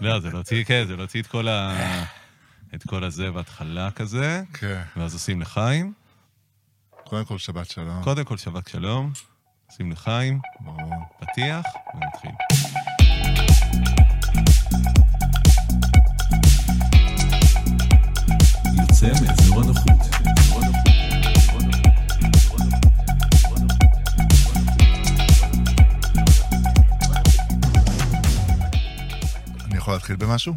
לא, זה להוציא, כן, זה להוציא את כל ה... את כל הזה בהתחלה כזה, כן. ואז עושים לחיים. קודם כל, שבת שלום. קודם כל שבת שלום, עושים לחיים, ברור. פתיח, ונתחיל. יוצא מאזור הנוחות. אני יכול להתחיל במשהו?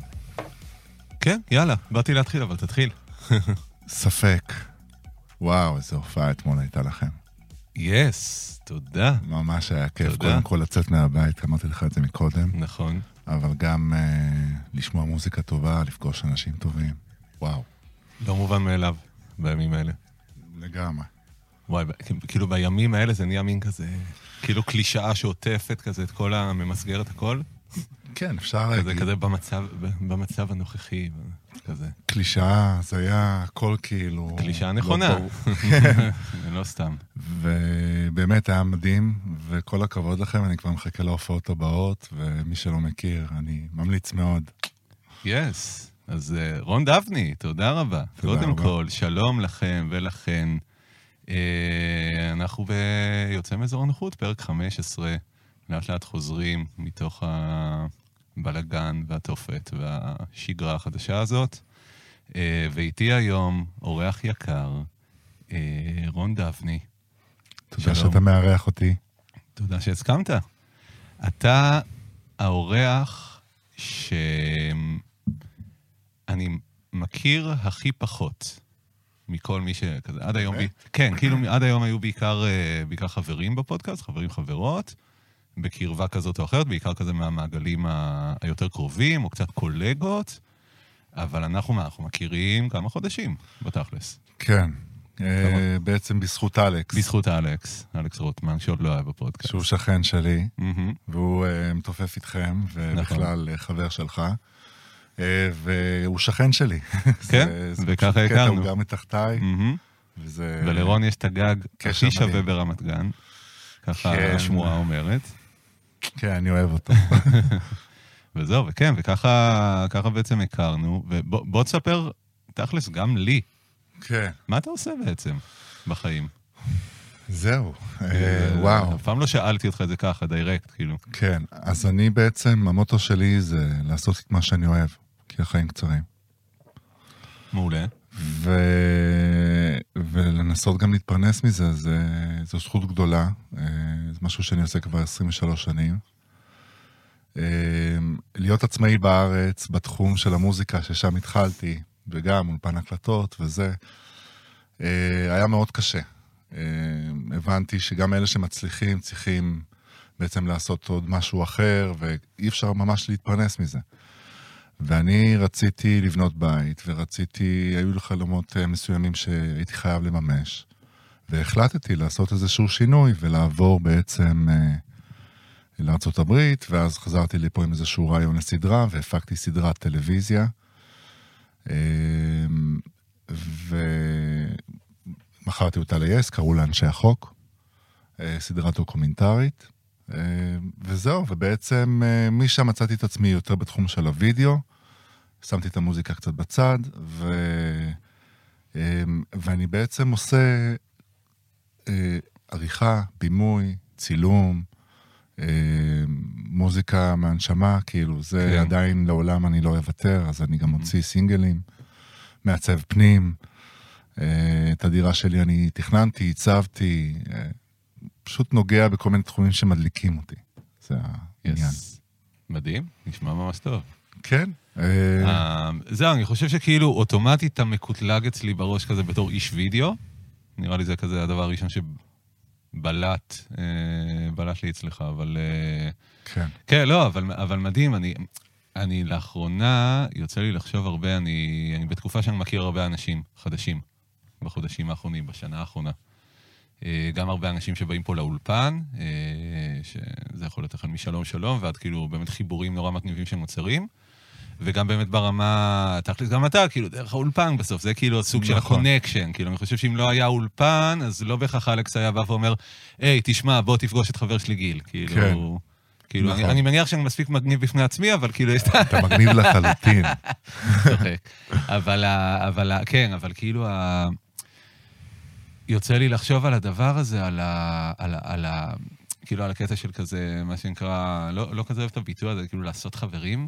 כן, יאללה, באתי להתחיל, אבל תתחיל. ספק. וואו, איזו הופעה אתמול הייתה לכם. יס, תודה. ממש היה כיף. תודה. קודם כל, לצאת מהבית, אמרתי לך את זה מקודם, נכון. אבל גם אה, לשמוע מוזיקה טובה, לפגוש אנשים טובים. וואו, לא מובן מאליו בימים האלה. לגמרי. וואי, ב- כאילו בימים האלה זה נהיה מין כזה, כאילו קלישאה שעוטפת כזה את כל ה... ממסגר את הכל. כן, אפשר זה להגיד. כזה במצב, ב- במצב הנוכחי, כזה. קלישאה, הזיה, הכל כאילו... קלישאה לא נכונה. ברור. זה לא סתם. ובאמת היה מדהים, וכל הכבוד לכם, אני כבר מחכה להופעות הבאות, ומי שלא מכיר, אני ממליץ מאוד. יס. אז אה, רון דבני, תודה רבה. תודה קודם רבה. כל, שלום לכם ולכן. אה, אנחנו ביוצא מאזור הנוחות, פרק 15. לאט לאט חוזרים מתוך הבלגן והתופת והשגרה החדשה הזאת. אה, ואיתי היום אורח יקר, אה, רון דבני. שלום. תודה שאתה מארח אותי. תודה שהסכמת. אתה האורח שאני מכיר הכי פחות מכל מי שכזה, עד היום, באמת? ב... כן, כאילו עד היום היו בעיקר, אה, בעיקר חברים בפודקאסט, חברים חברות, בקרבה כזאת או אחרת, בעיקר כזה מהמעגלים ה... היותר קרובים, או קצת קולגות, אבל אנחנו, מה, אנחנו מכירים כמה חודשים, בתכלס. כן. אה, בעצם בזכות אלכס, נכון. בזכות אלכס, אלכס רוטמן, שעוד לא היה בפודקאסט. שהוא שכן שלי, מהמם. והוא אה, מתופף איתכם, ובכלל נכון. אה, חבר שלך. אה, והוא שכן שלי. כן, זה- זה וככה פשוט קטע, הכרנו. הוא גר מתחתיי, מהמם. וזה... ולרון יש את הגג קשר הכי שווה מדהים. ברמת גן, ככה כן. השמועה אומרת, כן, אני אוהב אותו. וזהו, וכן, וככה ככה בעצם הכרנו, ובוא בוא תספר, תכלס, גם לי, כן. מה אתה עושה בעצם בחיים? זהו. אה, וואו. אף פעם לא שאלתי אותך את זה ככה, דיירקט, כאילו. כן, אז אני בעצם, המוטו שלי זה לעשות את מה שאני אוהב, כי החיים קצרים. מעולה. ו... ולנסות גם להתפרנס מזה, זה... זו זכות גדולה. אה, זה משהו שאני עושה כבר 23 שנים. אה, להיות עצמאי בארץ, בתחום של המוזיקה, ששם התחלתי, וגם אולפן הקלטות וזה, אה, היה מאוד קשה. אה, הבנתי שגם אלה שמצליחים צריכים בעצם לעשות עוד משהו אחר, ואי אפשר ממש להתפרנס מזה. ואני רציתי לבנות בית, ורציתי, היו לי חלומות אה, מסוימים שהייתי חייב לממש. והחלטתי לעשות איזשהו שינוי ולעבור בעצם אה, לארה"ב, ואז חזרתי לפה עם איזשהו רעיון לסדרה, והפקתי סדרת טלוויזיה. אה, ומכרתי אותה ליס, קראו לה אנשי החוק, אה, סדרה דוקומנטרית. אה, וזהו, ובעצם אה, משם מצאתי את עצמי יותר בתחום של הוידאו, שמתי את המוזיקה קצת בצד, ו... אה, ואני בעצם עושה אה, עריכה, בימוי, צילום, אה, מוזיקה מהנשמה, כאילו, זה כן. כן. עדיין לעולם אני לא אוותר, אז אני גם מוציא סינגלים, מעצב פנים. אה, את הדירה שלי אני תכננתי, עיצבתי, אה, פשוט נוגע בכל מיני תחומים שמדליקים אותי. זה העניין. יס. מדהים, נשמע ממש טוב. כן. אה, אה, זהו, אני חושב שכאילו אוטומטית אתה מקוטלג אצלי בראש כזה בתור איש וידאו. נראה לי זה כזה הדבר הראשון שבלט, אה, בלט לי אצלך, אבל... אה, כן. כן, לא, אבל, אבל מדהים, אני, אני לאחרונה, יוצא לי לחשוב הרבה, אני, אני בתקופה שאני מכיר הרבה אנשים חדשים, בחודשים האחרונים, בשנה האחרונה. אה, גם הרבה אנשים שבאים פה לאולפן, אה, שזה יכול להיות החל משלום שלום, ועד כאילו באמת חיבורים נורא מגניבים שנוצרים. וגם באמת ברמה, תכלס גם אתה, כאילו, דרך האולפן בסוף, זה כאילו הסוג של נכון. הקונקשן. כאילו, אני חושב שאם לא היה אולפן, אז לא בהכרח אלכס היה בא ואומר, היי, תשמע, בוא תפגוש את חבר שלי גיל. כאילו, כאילו, אני- נכון. אני מניח שאני מספיק מגניב בפני עצמי, אבל כאילו, יש את אתה מגניב לחלוטין. צוחק. אבל, ה- אבל, ה- כן, אבל כאילו, ה... יוצא לי לחשוב על הדבר הזה, על ה... על ה... על ה... כאילו, על הקטע של כזה, מה שנקרא, לא, לא כזה אוהב את הביטוי הזה, כאילו לעשות חברים,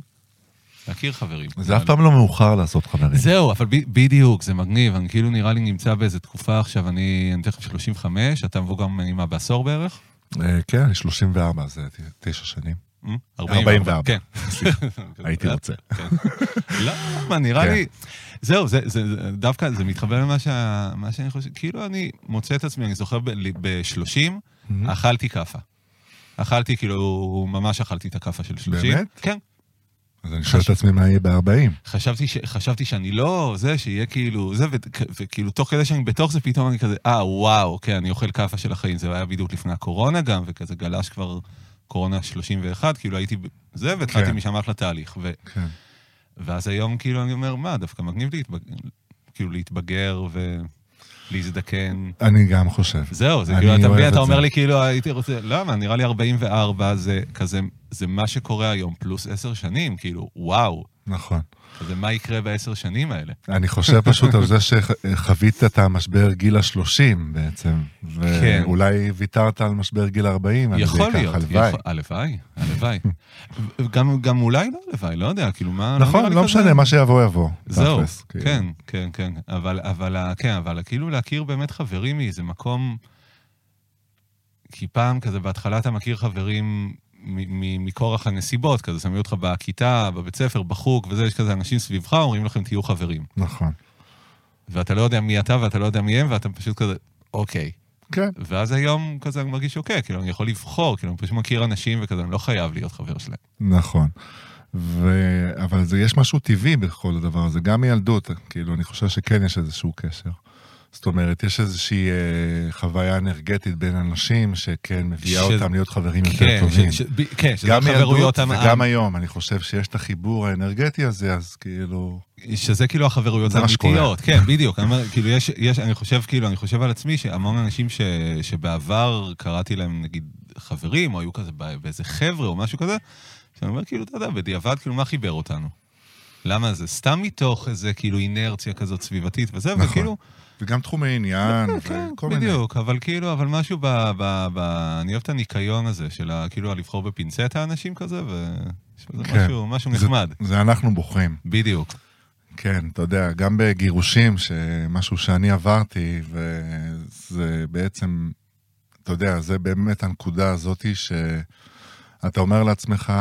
להכיר חברים. זה אף פעם לא מאוחר לעשות חברים. זהו, אבל ב- בדיוק, זה מגניב. אני כאילו נראה לי נמצא באיזה תקופה עכשיו, אני, אני תכף 35, אתה מבוגר ממני מה, בעשור בערך? אה, כן, אני 34, זה ת- תשע שנים. אה? 44. כן. הייתי רוצה. כן. לא, מה, נראה כן. לי... זהו, זה, זה, זה דווקא, זה מתחבר למה שה, מה שאני חושב, כאילו אני מוצא את עצמי, אני זוכר ב-30, Mm-hmm. אכלתי כאפה. אכלתי, כאילו, ממש אכלתי את הכאפה של 30. באמת? כן. אז אני שואל את עצמי מה יהיה ב-40. חשבתי, ש, חשבתי שאני לא זה, שיהיה כאילו זה, ו, וכאילו תוך כדי שאני בתוך זה, פתאום אני כזה, אה, וואו, כן, אני אוכל כאפה של החיים. זה היה בדיוק לפני הקורונה גם, וכזה גלש כבר קורונה 31, כאילו הייתי ב- זה, והתחלתי כן. משם אחלה תהליך. ו, כן. ואז היום כאילו אני אומר, מה, דווקא מגניב להתבגר, כאילו להתבגר ולהזדקן. אני גם חושב. זהו, זה אני כאילו, אתה אוהב מבין, את אתה אומר זה. לי כאילו, הייתי רוצה, למה, נראה לי 44 זה כזה, זה מה שקורה היום, פלוס 10 שנים, כאילו, וואו. נכון. כזה, מה יקרה בעשר שנים האלה? אני חושב פשוט על זה שחווית את המשבר גיל ה-30 בעצם. כן. ואולי ויתרת על משבר גיל 40, אני יכול להיות. הלוואי. יכול- הלוואי, הלוואי. גם- גם אולי לא הלוואי, לא יודע, כאילו, מה... נראה נכון, לי לא כזה- משנה, מה שיבוא יבוא. זהו, תכלס, כאילו. כן, כן, כן. אבל, אבל, ה- כן, אבל כאילו להכיר באמת חברים מאיזה מקום... כי פעם כזה, בהתחלה אתה מכיר חברים מ- מ- מכורח הנסיבות, כזה שמים אותך בכיתה, בבית ספר, בחוג וזה, יש כזה אנשים סביבך, אומרים לכם תהיו חברים. נכון. ואתה לא יודע מי אתה ואתה לא יודע מי הם, ואתה פשוט כזה, אוקיי. כן. ואז היום כזה אני מרגיש אוקיי, כאילו אני יכול לבחור, כאילו אני פשוט מכיר אנשים וכזה, אני לא חייב להיות חבר שלהם. נכון. ו... אבל זה, יש משהו טבעי בכל הדבר הזה, גם מילדות, כאילו, אני חושב שכן יש איזשהו קשר. זאת אומרת, יש איזושהי אה, חוויה אנרגטית בין אנשים שכן מביאה ש- ש... אותם להיות חברים יותר כן, טובים. ש- ש- ב- כן, שזה גם חברויות מילדות עם וגם העם, היום, אני חושב שיש את החיבור האנרגטי הזה, אז כאילו... שזה כאילו החברויות זה מה שקורה. האמיתיות. כן, בדיוק. אני אומר, כאילו יש, יש, אני חושב, כאילו, אני חושב על עצמי שהמון אנשים ש, שבעבר קראתי להם, נגיד, חברים, או היו כזה בא- באיזה חבר'ה או משהו כזה, שאני אומר, כאילו, אתה יודע, בדיעבד, כאילו, מה חיבר אותנו? למה זה סתם מתוך איזה, כאילו, אינרציה כזאת סביבתית וזה, נכון. וכאילו, וגם תחומי עניין, כן, וכל מיני. בדיוק, אבל כאילו, אבל משהו ב, ב, ב... אני אוהב את הניקיון הזה של ה... כאילו הלבחור בפינצטה אנשים כזה, ו... יש בזה כן. משהו, משהו נחמד. זה, זה אנחנו בוחרים. בדיוק. כן, אתה יודע, גם בגירושים, שמשהו שאני עברתי, וזה בעצם, אתה יודע, זה באמת הנקודה הזאתי שאתה אומר לעצמך,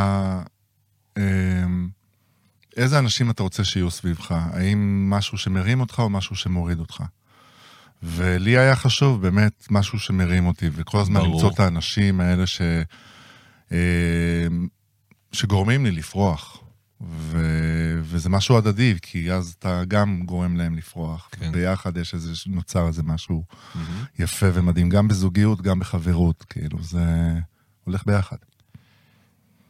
אמ, איזה אנשים אתה רוצה שיהיו סביבך? האם משהו שמרים אותך או משהו שמוריד אותך? ולי היה חשוב באמת משהו שמרים אותי, וכל הזמן ברור. למצוא את האנשים האלה ש... אמ, שגורמים לי לפרוח. ו... וזה משהו הדדי, כי אז אתה גם גורם להם לפרוח. כן. כן. ביחד יש איזה, נוצר איזה משהו יפה ומדהים, גם בזוגיות, גם בחברות, כאילו, זה הולך ביחד.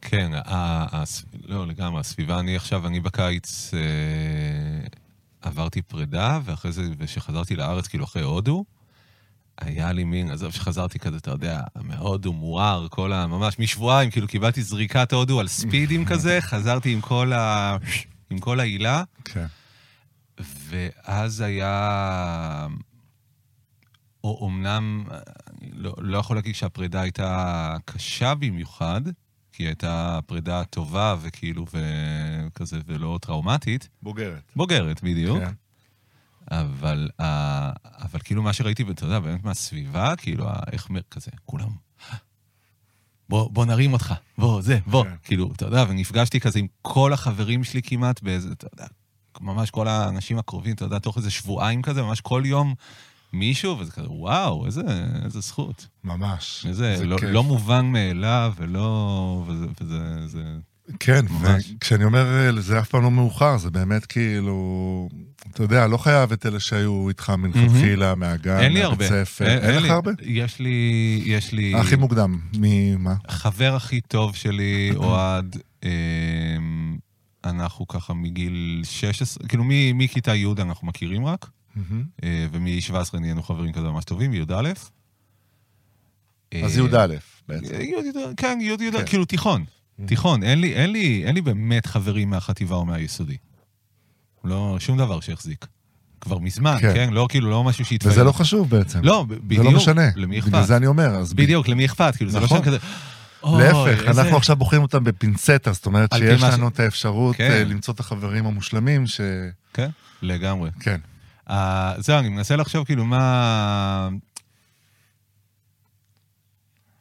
כן, ה- ה- הס- לא, לגמרי, הסביבה, אני עכשיו, אני בקיץ אה, עברתי פרידה, ואחרי זה, וכשחזרתי לארץ, כאילו אחרי הודו, היה לי מין, עזוב שחזרתי כזה, אתה יודע, מהודו, מואר, כל ה... ממש משבועיים, כאילו קיבלתי זריקת הודו על ספידים כזה, חזרתי עם כל ה... עם כל העילה. כן. ואז היה... או אמנם, לא, לא יכול להגיד שהפרידה הייתה קשה במיוחד, כי הייתה פרידה טובה וכאילו, וכזה, ולא טראומטית. בוגרת. בוגרת בדיוק. כן. אבל, ה- אבל כאילו מה שראיתי, אתה יודע, באמת מהסביבה, כאילו, ה- איך מ- כזה, כולם, בוא, בוא נרים אותך, בוא, זה, בוא. כן. כאילו, אתה יודע, ונפגשתי כזה עם כל החברים שלי כמעט באיזה, אתה יודע, ממש כל האנשים הקרובים, אתה יודע, תוך איזה שבועיים כזה, ממש כל יום מישהו, וזה כזה, וואו, איזה, איזה זכות. ממש. איזה, זה לא, כיף. לא מובן מאליו, ולא, וזה, וזה, זה, כן, ממש. וכשאני אומר, אה, זה אף פעם לא מאוחר, זה באמת כאילו, אתה יודע, לא חייב את אלה שהיו איתך מלכתחילה, מהגן, אין לי אה, מהבית הרבה. ספר. אין לך לי- הרבה? יש לי, יש לי... הכי מוקדם, ממה? החבר הכי טוב שלי, אוהד, אמ, אנחנו ככה מגיל 16, כאילו מ- מכיתה י' אנחנו מכירים רק, מהמם. אה, ומ-17 נהיינו חברים כזה ממש טובים, י"א. אז אה, י"א. בעצם. י' י"א, כן, י' י"א, כן. כאילו תיכון. תיכון, אין לי, אין לי, אין לי באמת חברים מהחטיבה או מהיסודי. לא, שום דבר שהחזיק. כבר מזמן, כן. כן? לא, כאילו, לא משהו שהתפעל. וזה לא חשוב בעצם. לא, ב- בדיוק. זה לא משנה. למי בגלל אכפת? זה אני אומר, אז ב- בדיוק, למי אכפת? כאילו, זה לא נכון. שם כזה... אוי, להפך, איזה- אנחנו עכשיו בוחרים אותם בפינצטה, זאת אומרת על פי שיש מה ש- לנו את האפשרות כן. אה, למצוא את החברים המושלמים ש... כן, לגמרי. כן. אה, זהו, אני מנסה לחשוב כאילו מה...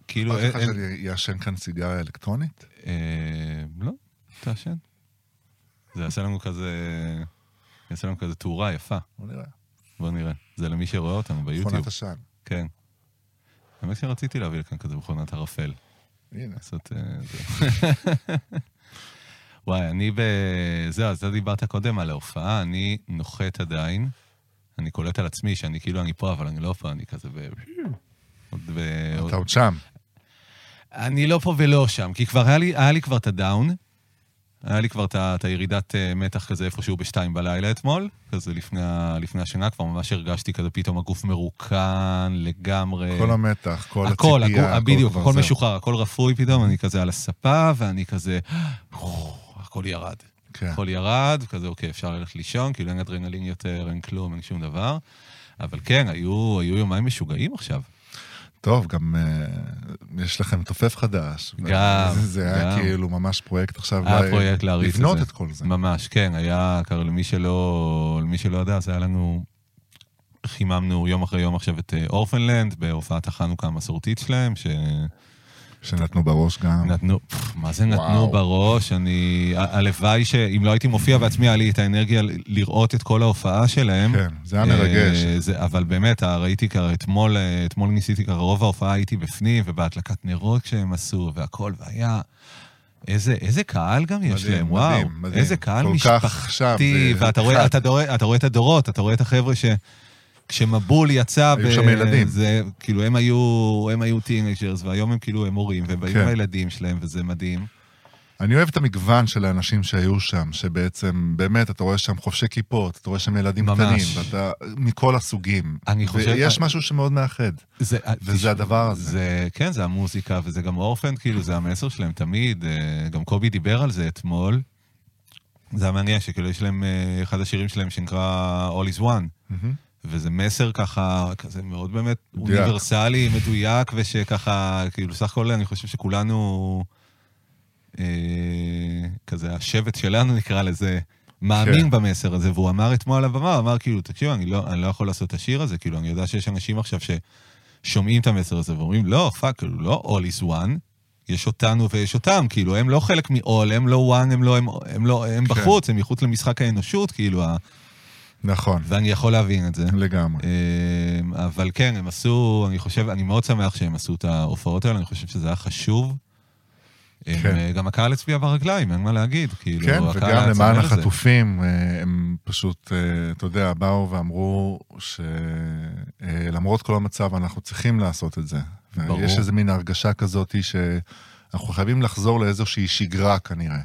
כאילו, אכפת לך אין- שאני יעשן כאן סיגריה אלקטרונית? אה, לא, תעשן. זה יעשה לנו כזה... יעשה לנו כזה תאורה יפה. בוא נראה. בוא נראה. זה למי שרואה אותנו ביוטיוב. מכונת עשן. כן. האמת שרציתי להביא לכאן כזה מכונת ערפל. הנה. לעשות... אה, זה. וואי, אני ב... זהו, אז אתה דיברת קודם על ההופעה, אני נוחת עדיין. אני קולט על עצמי שאני כאילו אני פה, אבל אני לא פה, אני כזה ב... עוד ב... עוד- אתה עוד שם. אני לא פה ולא שם, כי כבר היה לי, היה לי כבר את הדאון, היה לי כבר את ה- את הירידת אה, מתח כזה איפשהו בשתיים בלילה אתמול, כזה לפני, ה- לפני השנה, כבר ממש הרגשתי כזה פתאום הגוף מרוקן לגמרי. כל המתח, כל אה, הכל, הכל, הציפייה, בדיוק, כבר הכל זהו. משוחרר, הכל רפוי פתאום, אני כזה על הספה, ואני כזה, הכל ירד. כן. הכל ירד, כזה, אוקיי, אפשר ללכת לישון, כאילו אין אדרנלין יותר, אין כלום, אין שום דבר. אבל כן, היו, היו יומיים משוגעים עכשיו. טוב, גם אה, יש לכם תופף חדש. גם, זה- זה היה גם. כאילו ממש פרויקט עכשיו. היה ל- פרויקט להריץ את לבנות זה. את כל זה. ממש, כן, היה, כבר למי שלא, למי שלא יודע, אז היה לנו, חיממנו יום אחרי יום עכשיו את אה, אורפנלנד, בהופעת החנוכה המסורתית שלהם, ש... שנתנו בראש גם. נתנו, פפ, מה זה נתנו וואו. בראש? אני... ה- הלוואי שאם לא הייתי מופיע בעצמי, היה לי את האנרגיה ל- לראות את כל ההופעה שלהם. כן, זה היה מרגש. אה, זה, אבל באמת, אה, ראיתי ככה, אתמול, אה, אתמול ניסיתי ככה, רוב ההופעה הייתי בפנים, ובהדלקת נרות שהם עשו, והכל, והיה... איזה, איזה קהל גם יש מדהים, להם, מדהים, וואו. מדהים. איזה קהל כל כך שם, משפחתי, זה ואתה רואה, אחד. אתה, רואה, אתה רואה את הדורות, אתה רואה את החבר'ה ש... כשמבול יצא... היו ב- שם ילדים. זה, כאילו, הם היו, הם היו טינג'רס, והיום הם כאילו, הם הורים, והם באים כן. עם הילדים שלהם, וזה מדהים. אני אוהב את המגוון של האנשים שהיו שם, שבעצם, באמת, אתה רואה שם חובשי כיפות, אתה רואה שם ילדים ממש. קטנים, ואתה מכל הסוגים. אני חושב- ויש משהו שמאוד מאחד. זה, אה, וזה הדבר הזה. זה, כן, זה המוזיקה, וזה גם אורפן, כאילו, זה המסר שלהם תמיד. אה, גם קובי דיבר על זה אתמול. זה היה מעניין, שכאילו, יש להם, אה, אחד השירים שלהם שנקרא All is One. מהמם. וזה מסר ככה, כזה מאוד באמת מדויק. אוניברסלי, מדויק, ושככה, כאילו, סך הכל אני חושב שכולנו, אה, כזה השבט שלנו נקרא לזה, מאמין כן. במסר הזה, והוא אמר אתמול על הבמה, הוא אמר כאילו, תקשיב, אני לא, אני לא יכול לעשות את השיר הזה, כאילו, אני יודע שיש אנשים עכשיו ששומעים את המסר הזה ואומרים, לא, פאק, כאילו, לא all is one, יש אותנו ויש אותם, כאילו, הם לא חלק מ-all, הם לא one, הם לא, הם, הם לא, הם כן. בחוץ, הם מחוץ למשחק האנושות, כאילו, ה- נכון, ואני יכול להבין את זה. לגמרי. אמ, אבל כן, הם עשו, אני חושב, אני מאוד שמח שהם עשו את ההופעות האלה, אני חושב שזה היה חשוב. הם, כן. אה, גם הקהל הצביע ברגליים, אין מה להגיד. כאילו, כן, הקהל היה וגם למען צמא לזה. החטופים, אה, הם פשוט, אה, אתה יודע, באו ואמרו שלמרות כל המצב, אנחנו צריכים לעשות את זה. ברור. יש איזו מין הרגשה כזאת שאנחנו חייבים לחזור לאיזושהי שגרה כנראה.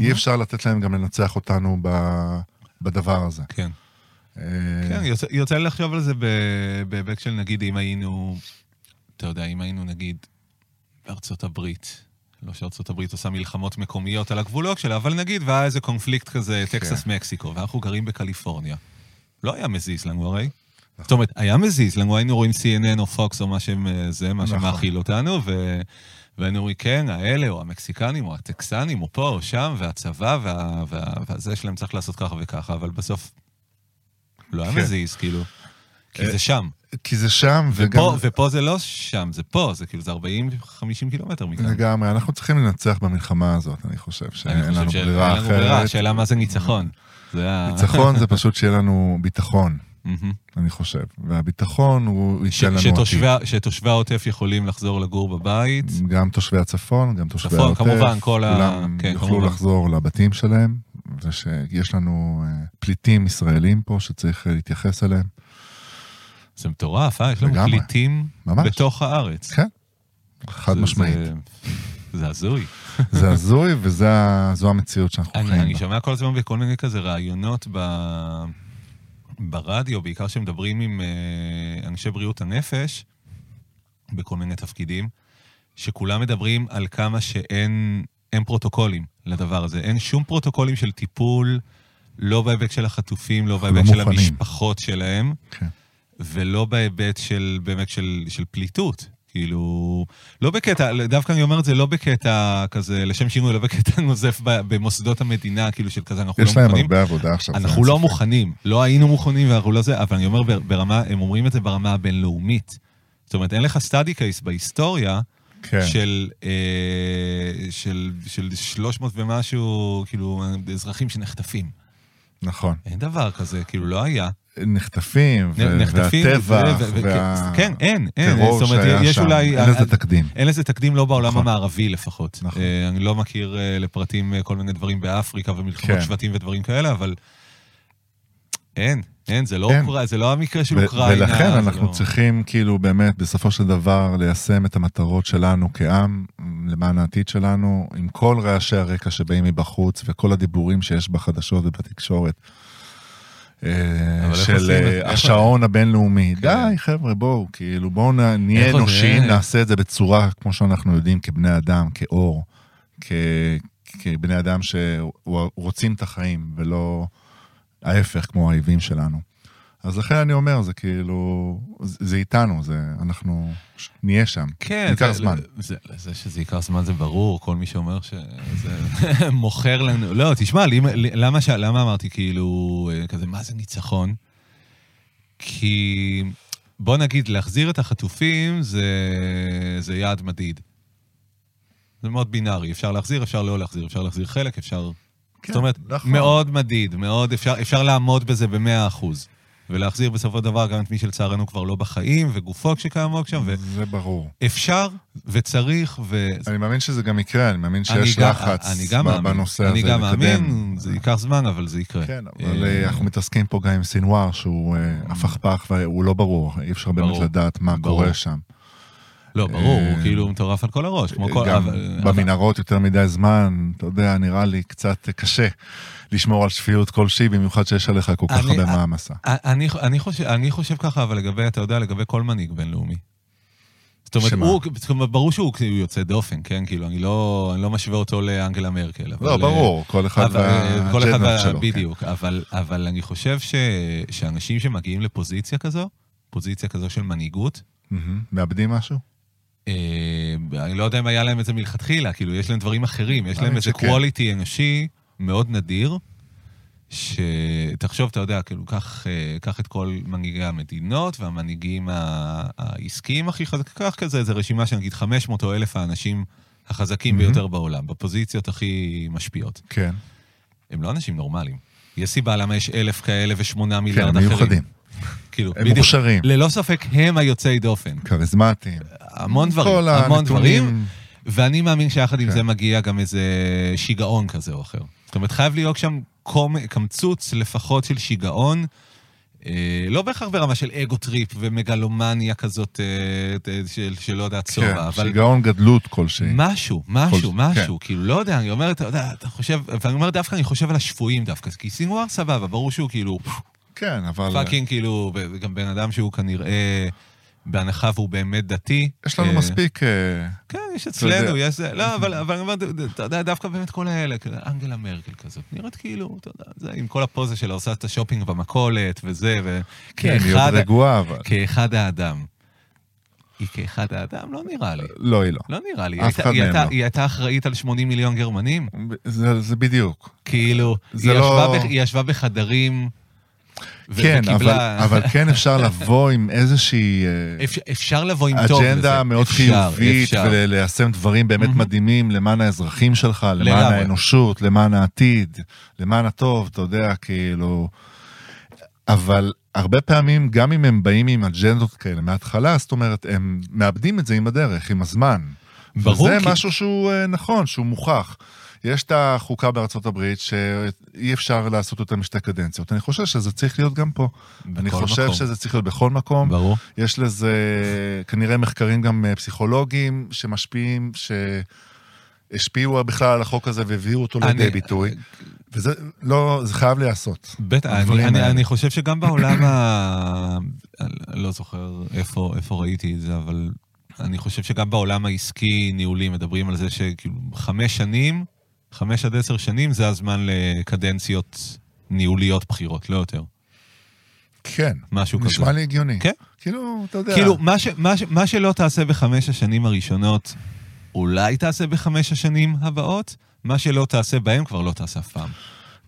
אי אפשר לתת להם גם לנצח אותנו ב- בדבר הזה. כן. אה, כן, יוצא, יוצא לי לחשוב על זה ב- בהיבט של נגיד אם היינו, אתה יודע, אם היינו נגיד בארצות הברית, לא שארצות הברית עושה מלחמות מקומיות על הגבולות שלה, אבל נגיד, והיה איזה קונפליקט כזה, כן. טקסס-מקסיקו, ואנחנו גרים בקליפורניה. לא היה מזיז לנו הרי. זאת אומרת, היה מזיז לנו, היינו רואים CNN או Fox או מה שהם, אה, זה, מה נכון. שמאכיל אותנו, ו... והיינו אומרים, כן, האלה, או המקסיקנים, או הטקסנים, או פה, או שם, והצבא, וה... וה... והזה שלהם צריך לעשות ככה וככה, אבל בסוף לא היה כן. מזיז, כאילו. כי זה שם. כי זה שם, וגם... ופה, ופה זה לא שם, זה פה, זה כאילו, זה 40-50 קילומטר מכאן. לגמרי, אנחנו צריכים לנצח במלחמה הזאת, אני חושב אני שאין חושב לנו שאין ברירה לנו ברירה, אחרת. השאלה מה זה ניצחון. זה ה... ניצחון זה פשוט שיהיה לנו ביטחון, מהמם. אני חושב. והביטחון הוא ש- ייתן לנו שתושבי ה- שתושבי העוטף יכולים לחזור לגור בבית. עתיד. גם תושבי הצפון, גם תושבי צפון, העוטף. כמובן, כל ה- כולם כן, יוכלו כמובן. לחזור לבתים שלהם, ושיש לנו אה, פליטים ישראלים פה שצריך אה, להתייחס אליהם. זה מטורף, אה? יש לנו לגמרי. פליטים ממש. בתוך הארץ. כן, חד זה- משמעית. אוקיי, זה- זה הזוי. זה הזוי וזו המציאות שאנחנו אני, חיים אני בה. שומע כל הזמן בכל מיני כזה ראיונות ב... ברדיו, בעיקר כשמדברים עם אה, אנשי בריאות הנפש, בכל מיני תפקידים, שכולם מדברים על כמה שאין אין פרוטוקולים לדבר הזה. אין שום פרוטוקולים של טיפול, לא בהיבט של החטופים, לא בהיבט של מוכנים. המשפחות שלהם, כן. ולא בהיבט של, באמת, של, של פליטות. כאילו, לא בקטע, דווקא אני אומר את זה לא בקטע כזה, לשם שינוי, לא בקטע נוזף ב- במוסדות המדינה, כאילו של כזה, אנחנו לא יש להם מוכנים. הרבה עבודה עכשיו. זה אנחנו אין לא ספק. מוכנים, לא היינו מוכנים ואנחנו לא זה, אבל אני אומר בר- ברמה, הם אומרים את זה ברמה הבינלאומית. זאת אומרת, אין לך סטאדי קייס בהיסטוריה כן. של, אה, של, של 300 ומשהו, כאילו, אזרחים שנחטפים. נכון. אין דבר כזה, כאילו, לא היה. נחטפים, ו- נחטפים, והטבח, ו- ו- ו- וה- כן, אין, אין. טרור זאת אומרת, שהיה יש שם, אולי- אה, אין לזה תקדים. אין לזה תקדים לא בעולם נכון. המערבי לפחות. נכון. אה, אני לא מכיר אה, לפרטים אה, כל מיני דברים באפריקה ומלחמות כן. שבטים ודברים כאלה, אבל אין, אין, זה לא אין. אוקרא- זה לא המקרה של כן. ו- אוקראינה. ולכן זה אנחנו לא- צריכים כאילו באמת בסופו של דבר ליישם את המטרות שלנו כעם למען העתיד שלנו עם כל רעשי הרקע שבאים מבחוץ וכל הדיבורים שיש בחדשות ובתקשורת. אה, איך של עושים את- אה, איך- השעון הבינלאומי. כן. די חבר'ה בואו כאילו בואו נ- נהיה איך עוד אנושיים זה? נעשה את זה בצורה כמו שאנחנו יודעים כבני אדם כאור כ- כבני אדם שרוצים את החיים ולא ההפך כמו האויבים שלנו. אז לכן אני אומר, זה כאילו, זה, זה איתנו, זה, אנחנו ש- נהיה שם. כן, ייקח זה- זמן. זה, זה שזה ייקח זמן זה ברור, כל מי שאומר שזה מוכר לנו. לא, תשמע, לי- לי- למה, ש- למה אמרתי כאילו, אה, כזה, מה זה ניצחון? כי בוא נגיד, להחזיר את החטופים זה, זה יעד מדיד. זה מאוד בינארי, אפשר להחזיר, אפשר לא להחזיר, אפשר להחזיר חלק, אפשר... כן, זאת אומרת, נכון. נכון. מאוד מדיד, מאוד אפשר, אפשר לעמוד בזה במאה אחוז. ולהחזיר בסופו של דבר גם את מי שלצערנו כבר לא בחיים, וגופות שקיימות שם, ו... זה ברור. אפשר וצריך, ו... אני מאמין שזה גם יקרה, אני מאמין שיש אני גם- לחץ אני גם ב- מאמין. בנושא הזה אני גם לקדם. מאמין, זה ייקח זמן, אבל זה יקרה. כן, אבל אה, אה, אנחנו מתעסקים פה גם עם סינואר, שהוא אה, הפכפך והוא לא ברור, אי אפשר באמת ברור. לדעת מה ברור. קורה שם. לא, ברור, הוא אה, כאילו מטורף על כל הראש, כמו כל... גם אבל- במנהרות יותר מדי זמן, אתה יודע, נראה לי קצת קשה לשמור על שפיות כלשהי, במיוחד שיש עליך כל כך אני- הרבה מעמסה. אבל- אני- אני חושב- אני חושב ככה, אבל לגבי, אתה יודע, לגבי כל מנהיג בינלאומי. זאת אומרת, שמה? הוא, זאת אומרת, ברור שהוא כאילו יוצא דופן, כן? כאילו, אני לא אני לא משווה אותו לאנגלה מרקל. אבל, לא, אה, ברור, כל אחד אבל, אה, כל אחד והאג'נדות וה- שלו. כן. בדיוק, אבל, אבל אני חושב ש, שאנשים שמגיעים לפוזיציה כזו, פוזיציה כזו של מנהיגות, מהמם. כן. מאבדים משהו? אה, אני לא יודע אם היה להם את זה מלכתחילה, כאילו, יש להם דברים אחרים, יש להם מאמין איזה שכן. quality אנושי מאוד נדיר, שתחשוב, אתה יודע, כאילו, קח, אה, קח את כל מנהיגי המדינות והמנהיגים ה- העסקיים הכי חזקים, קח כזה איזה רשימה של נגיד 500 או 1,000 האנשים החזקים מהמם. ביותר בעולם, בפוזיציות הכי משפיעות. כן. הם לא אנשים נורמלים. יש סיבה למה יש אלף כאלה ושמונה כן, מיליארד הם אחרים. מיוחדים. כאילו, הם בדיוק. מוכשרים, ללא ספק הם היוצאי דופן. כריזמטיים. המון דברים, כל המון דברים. הנתונים. ואני מאמין שיחד עם כן. זה מגיע גם איזה שיגעון כזה או אחר. זאת אומרת, חייב להיות שם קומ- קמצוץ לפחות של שיגעון, אה, לא בהכרח ברמה של אגו טריפ ומגלומניה כזאת אה, אה, של, שלא יודע, צורה, כן, אבל שיגעון גדלות כלשהי. משהו, משהו, כן. משהו, כאילו, לא יודע, אני אומר, אתה יודע, אתה חושב, ואני אומר דווקא, אני חושב על השפויים דווקא, כי סינואר סבבה, ברור שהוא כאילו, כן, אבל פאקינג כאילו, גם בן אדם שהוא כנראה, בהנחה והוא באמת דתי. יש לנו אה, מספיק... אה, כן, יש אתה אצלנו, יודע. יש זה. לא, אבל אבל אני אומר, אתה יודע, דווקא באמת כל האלה, כזה, אנגלה מרקל כזאת, נראית כאילו, אתה יודע, זה עם כל הפוזה שלה, עושה את השופינג במכולת וזה, ו... כן, היא כאחד- עוד רגועה, אבל... כאחד האדם. היא כאחד האדם? לא נראה לי. לא, היא לא. לא נראה לי. אף הייתה- אחד היא מהם הייתה- לא. היא הייתה אחראית על 80 מיליון גרמנים? זה- זה בדיוק. כאילו, זה היא לא- ישבה בח- היא ישבה בחדרים, ו- כן, וקיבלה... אבל- אבל כן אפשר לבוא עם איזושהי... אה, אפ- אפשר לבוא עם טוב לזה. אג'נדה מאוד אפשר, חיובית, אפשר. וליישם דברים באמת מהמם. מדהימים למען האזרחים שלך, למען לגמרי. האנושות, למען העתיד, למען הטוב, אתה יודע, כאילו... אבל הרבה פעמים, גם אם הם באים עם אג'נדות כאלה מההתחלה, זאת אומרת, הם מאבדים את זה עם הדרך, עם הזמן. ברור, וזה כי- משהו שהוא אה, נכון, שהוא מוכח. יש את החוקה בארצות הברית שאי אפשר לעשות אותה משתי קדנציות. אני חושב שזה צריך להיות גם פה. אני בכל חושב מקום. שזה צריך להיות בכל מקום. ברור. יש לזה כנראה מחקרים גם אה, פסיכולוגיים שמשפיעים, שהשפיעו בכלל על החוק הזה והביאו אותו אני- לידי ביטוי. וזה לא, זה חייב להיעשות. בטח, אני, הדברים אני, האלה. אני חושב שגם בעולם ה... אני לא זוכר איפה, איפה ראיתי את זה, אבל אני חושב שגם בעולם העסקי ניהולי מדברים על זה שכאילו חמש שנים, חמש עד עשר שנים זה הזמן לקדנציות ניהוליות בחירות, לא יותר. כן. משהו כזה. נשמע לי הגיוני. כן. כאילו, אתה יודע. כאילו, מה, ש, מה, ש, מה שלא תעשה בחמש השנים הראשונות, אולי תעשה בחמש השנים הבאות, מה שלא תעשה בהם כבר לא תעשה אף פעם.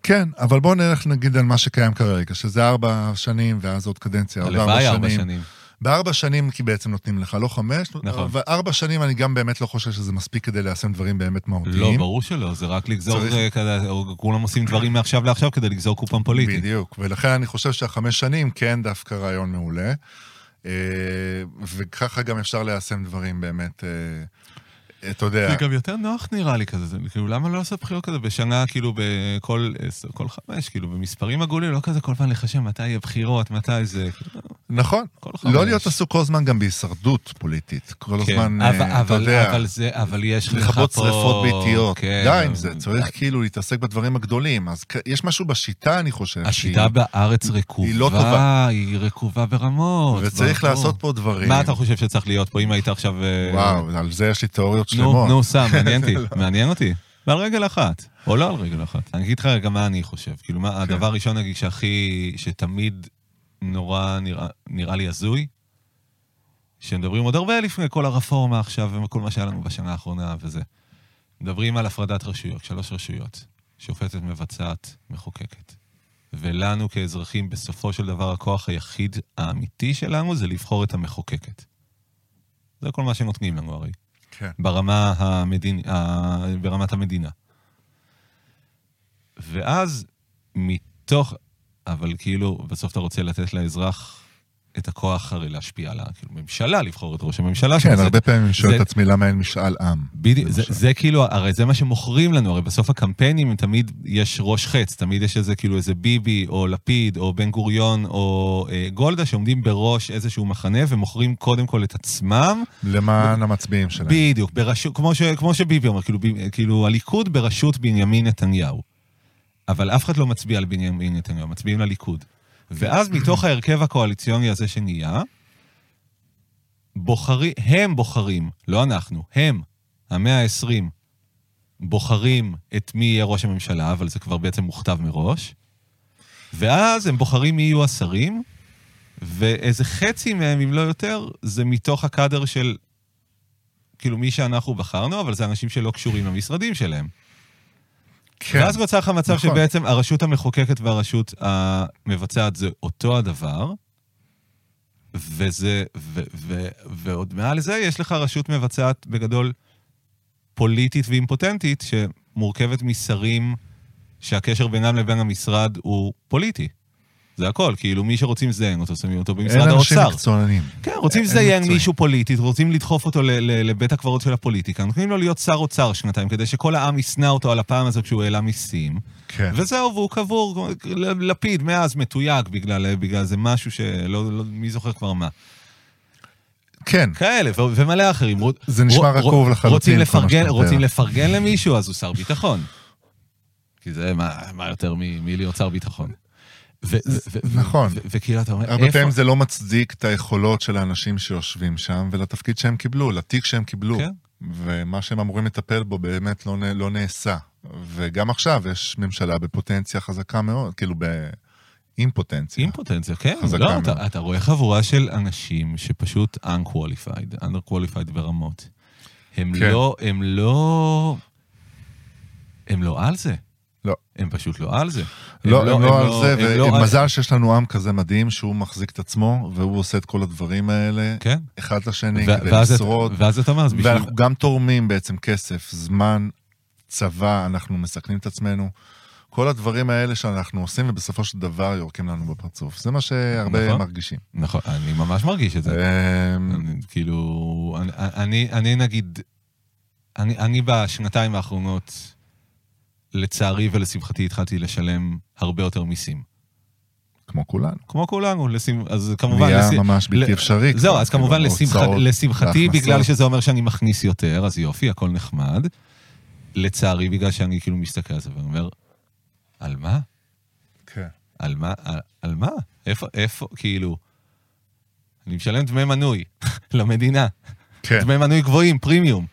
כן, אבל בואו נלך נגיד על מה שקיים כרגע, שזה ארבע שנים ואז עוד קדנציה, עוד ארבע הלוואי שנים. ארבע שנים. בארבע שנים כי בעצם נותנים לך, לא חמש, נכון. אבל ארבע שנים אני גם באמת לא חושב שזה מספיק כדי ליישם דברים באמת מהותיים. לא, ברור שלא, זה רק לגזור, צריך- אה, כזה, או כולם עושים דברים מעכשיו לעכשיו כדי לגזור קופון פוליטי. בדיוק, ולכן אני חושב שהחמש שנים כן דווקא רעיון מעולה, אה, וככה גם אפשר ליישם דברים באמת, אה, אתה יודע, זה גם יותר נוח נראה לי כזה, זה כאילו למה לא לעשות בחירות כזה בשנה, כאילו בכל עשר, כל חמש, כאילו במספרים עגולים, לא כזה כל פעם לחשב מתי יהיה בחירות, מתי זה, כאילו, נכון, כל חמש. לא להיות עסוק כל הזמן גם בהישרדות פוליטית, כל כן. הזמן, אבל- אה, אתה אבל- יודע, אבל זה, אבל יש לך פה... לכבות שריפות ביתיות, כן. די עם זה, צריך כאילו להתעסק בדברים הגדולים, אז כ- יש משהו בשיטה אני חושב, השיטה בארץ רקובה, לא טובה. היא רקובה ברמות. וצריך ברור. לעשות פה דברים, מה אתה חושב שצריך להיות פה, אם היית עכשיו... אה, וואו, על זה יש לי תיאוריות נו, שלמות. נו, סם, מעניין אותי, מעניין אותי. ועל רגל אחת, או לא על רגל אחת. לא. אני אגיד לך גם מה אני חושב. כאילו, מה, הדבר הראשון, נגיד, שהכי, שתמיד נורא נראה- נראה לי הזוי, שמדברים עוד הרבה לפני כל הרפורמה עכשיו וכל מה שהיה לנו בשנה האחרונה וזה. מדברים על הפרדת רשויות, שלוש רשויות, שופטת, מבצעת, מחוקקת. ולנו כאזרחים, בסופו של דבר, הכוח היחיד האמיתי שלנו זה לבחור את המחוקקת. זה כל מה שנותנים לנו הרי. כן. ברמה המדינ... ה- ברמת המדינה. ואז מתוך, אבל כאילו, בסוף אתה רוצה לתת לאזרח את הכוח הרי להשפיע על הממשלה, לבחור את ראש הממשלה. כן, שזה- הרבה פעמים אני שואל זה- את עצמי למה אין משאל עם. בדיוק, זה, למשל. זה כאילו, הרי זה מה שמוכרים לנו, הרי בסוף הקמפיינים הם תמיד יש ראש חץ, תמיד יש איזה כאילו איזה ביבי או לפיד או בן גוריון או אה, גולדה שעומדים בראש איזשהו מחנה ומוכרים קודם כל את עצמם למען המצביעים שלהם. בדיוק, בראשות, כמו, ש, כמו שביבי אומר, כאילו, ב- כאילו הליכוד בראשות בנימין נתניהו. אבל אף אחד לא מצביע על בנימין נתניהו, מצביעים לליכוד. ואז מתוך ההרכב הקואליציוני הזה שנהיה, בוחרים, הם בוחרים, לא אנחנו, הם, המאה ה-20, בוחרים את מי יהיה ראש הממשלה, אבל זה כבר בעצם מוכתב מראש, ואז הם בוחרים מי יהיו השרים, ואיזה חצי מהם, אם לא יותר, זה מתוך הקאדר של כאילו מי שאנחנו בחרנו, אבל זה אנשים שלא קשורים למשרדים שלהם. כן. כן, ואז נוצר לך מצב נכון. נכון. שבעצם הרשות המחוקקת והרשות המבצעת זה אותו הדבר, וזה, ו, ו, ועוד מעל זה יש לך רשות מבצעת בגדול פוליטית ואימפוטנטית, שמורכבת משרים שהקשר בינם לבין המשרד הוא פוליטי. זה הכל, כאילו מי שרוצים לזיין אותו, שמים אותו אין במשרד אנשים האוצר. מקצוענים. כן, רוצים אין לזיין מקצועי. מישהו פוליטית, רוצים לדחוף אותו ל- ל- לבית הקברות של הפוליטיקה, נותנים לו להיות שר אוצר שנתיים, כדי שכל העם ישנא אותו על הפעם הזו כשהוא העלה מיסים, כן. וזהו, והוא קבור, ל- לפיד מאז מתויג בגלל בגלל איזה משהו שלא, לא- מי זוכר כבר מה. כן, כאלה, ו- ומלא אחרים. רוצ- זה נשמע רוצ- רקוב לחלוטין, רוצים כל מה שאתה לפרגן, מתאר. רוצים לפרגן למישהו, אז הוא שר ביטחון. כי זה, מה, מה יותר מ- מלהיות שר ביטחון. ו- ו- ו- נכון. ו- וכאילו, אתה אומר, הרבה איפה... פעמים זה לא מצדיק את היכולות של האנשים שיושבים שם ולתפקיד שהם קיבלו, לתיק שהם קיבלו. כן. ומה שהם אמורים לטפל בו באמת לא, נ- לא נעשה. וגם עכשיו יש ממשלה בפוטנציה חזקה מאוד, כאילו באימפוטנציה. אימפוטנציה, כן. חזקה לא, מאוד. אתה, אתה רואה חבורה של אנשים שפשוט unqualified, underqualified ברמות. הם כן. לא, הם לא... הם לא על זה. לא. הם פשוט לא על זה. לא, הם לא על הם זה, לא על- ומזל שיש לנו עם כזה מדהים שהוא מחזיק את עצמו, והוא עושה את כל הדברים האלה, כן. אחד לשני, ו- כדי ואז את- לשרוד. ואז אתה אומר, אז בשביל... ואנחנו גם תורמים בעצם כסף, זמן, צבא, אנחנו מסכנים את עצמנו. כל הדברים האלה שאנחנו עושים, ובסופו של דבר יורקים לנו בפרצוף. זה מה שהרבה נכון. מרגישים. נכון, אני ממש מרגיש את זה. כן. אמ, אני- כאילו, אני- אני, אני נגיד, אני, אני בשנתיים האחרונות, לצערי ולשמחתי, התחלתי לשלם הרבה יותר מיסים. כמו כולנו. כמו כולנו, לשמ... אז כמובן... נהיה לש- ממש בלתי ל- אפשרי. זהו, כבר, אז כמובן כאילו, לשמח... ההוצאות, לשמחתי, ההכנסות. בגלל שזה אומר שאני מכניס יותר, אז יופי, הכל נחמד. לצערי, בגלל שאני כאילו מסתכל על זה ואומר, על מה? כן. על מה? על, על מה? איפה, איפה, כאילו... אני משלם דמי מנוי למדינה. כן. דמי מנוי גבוהים, פרימיום,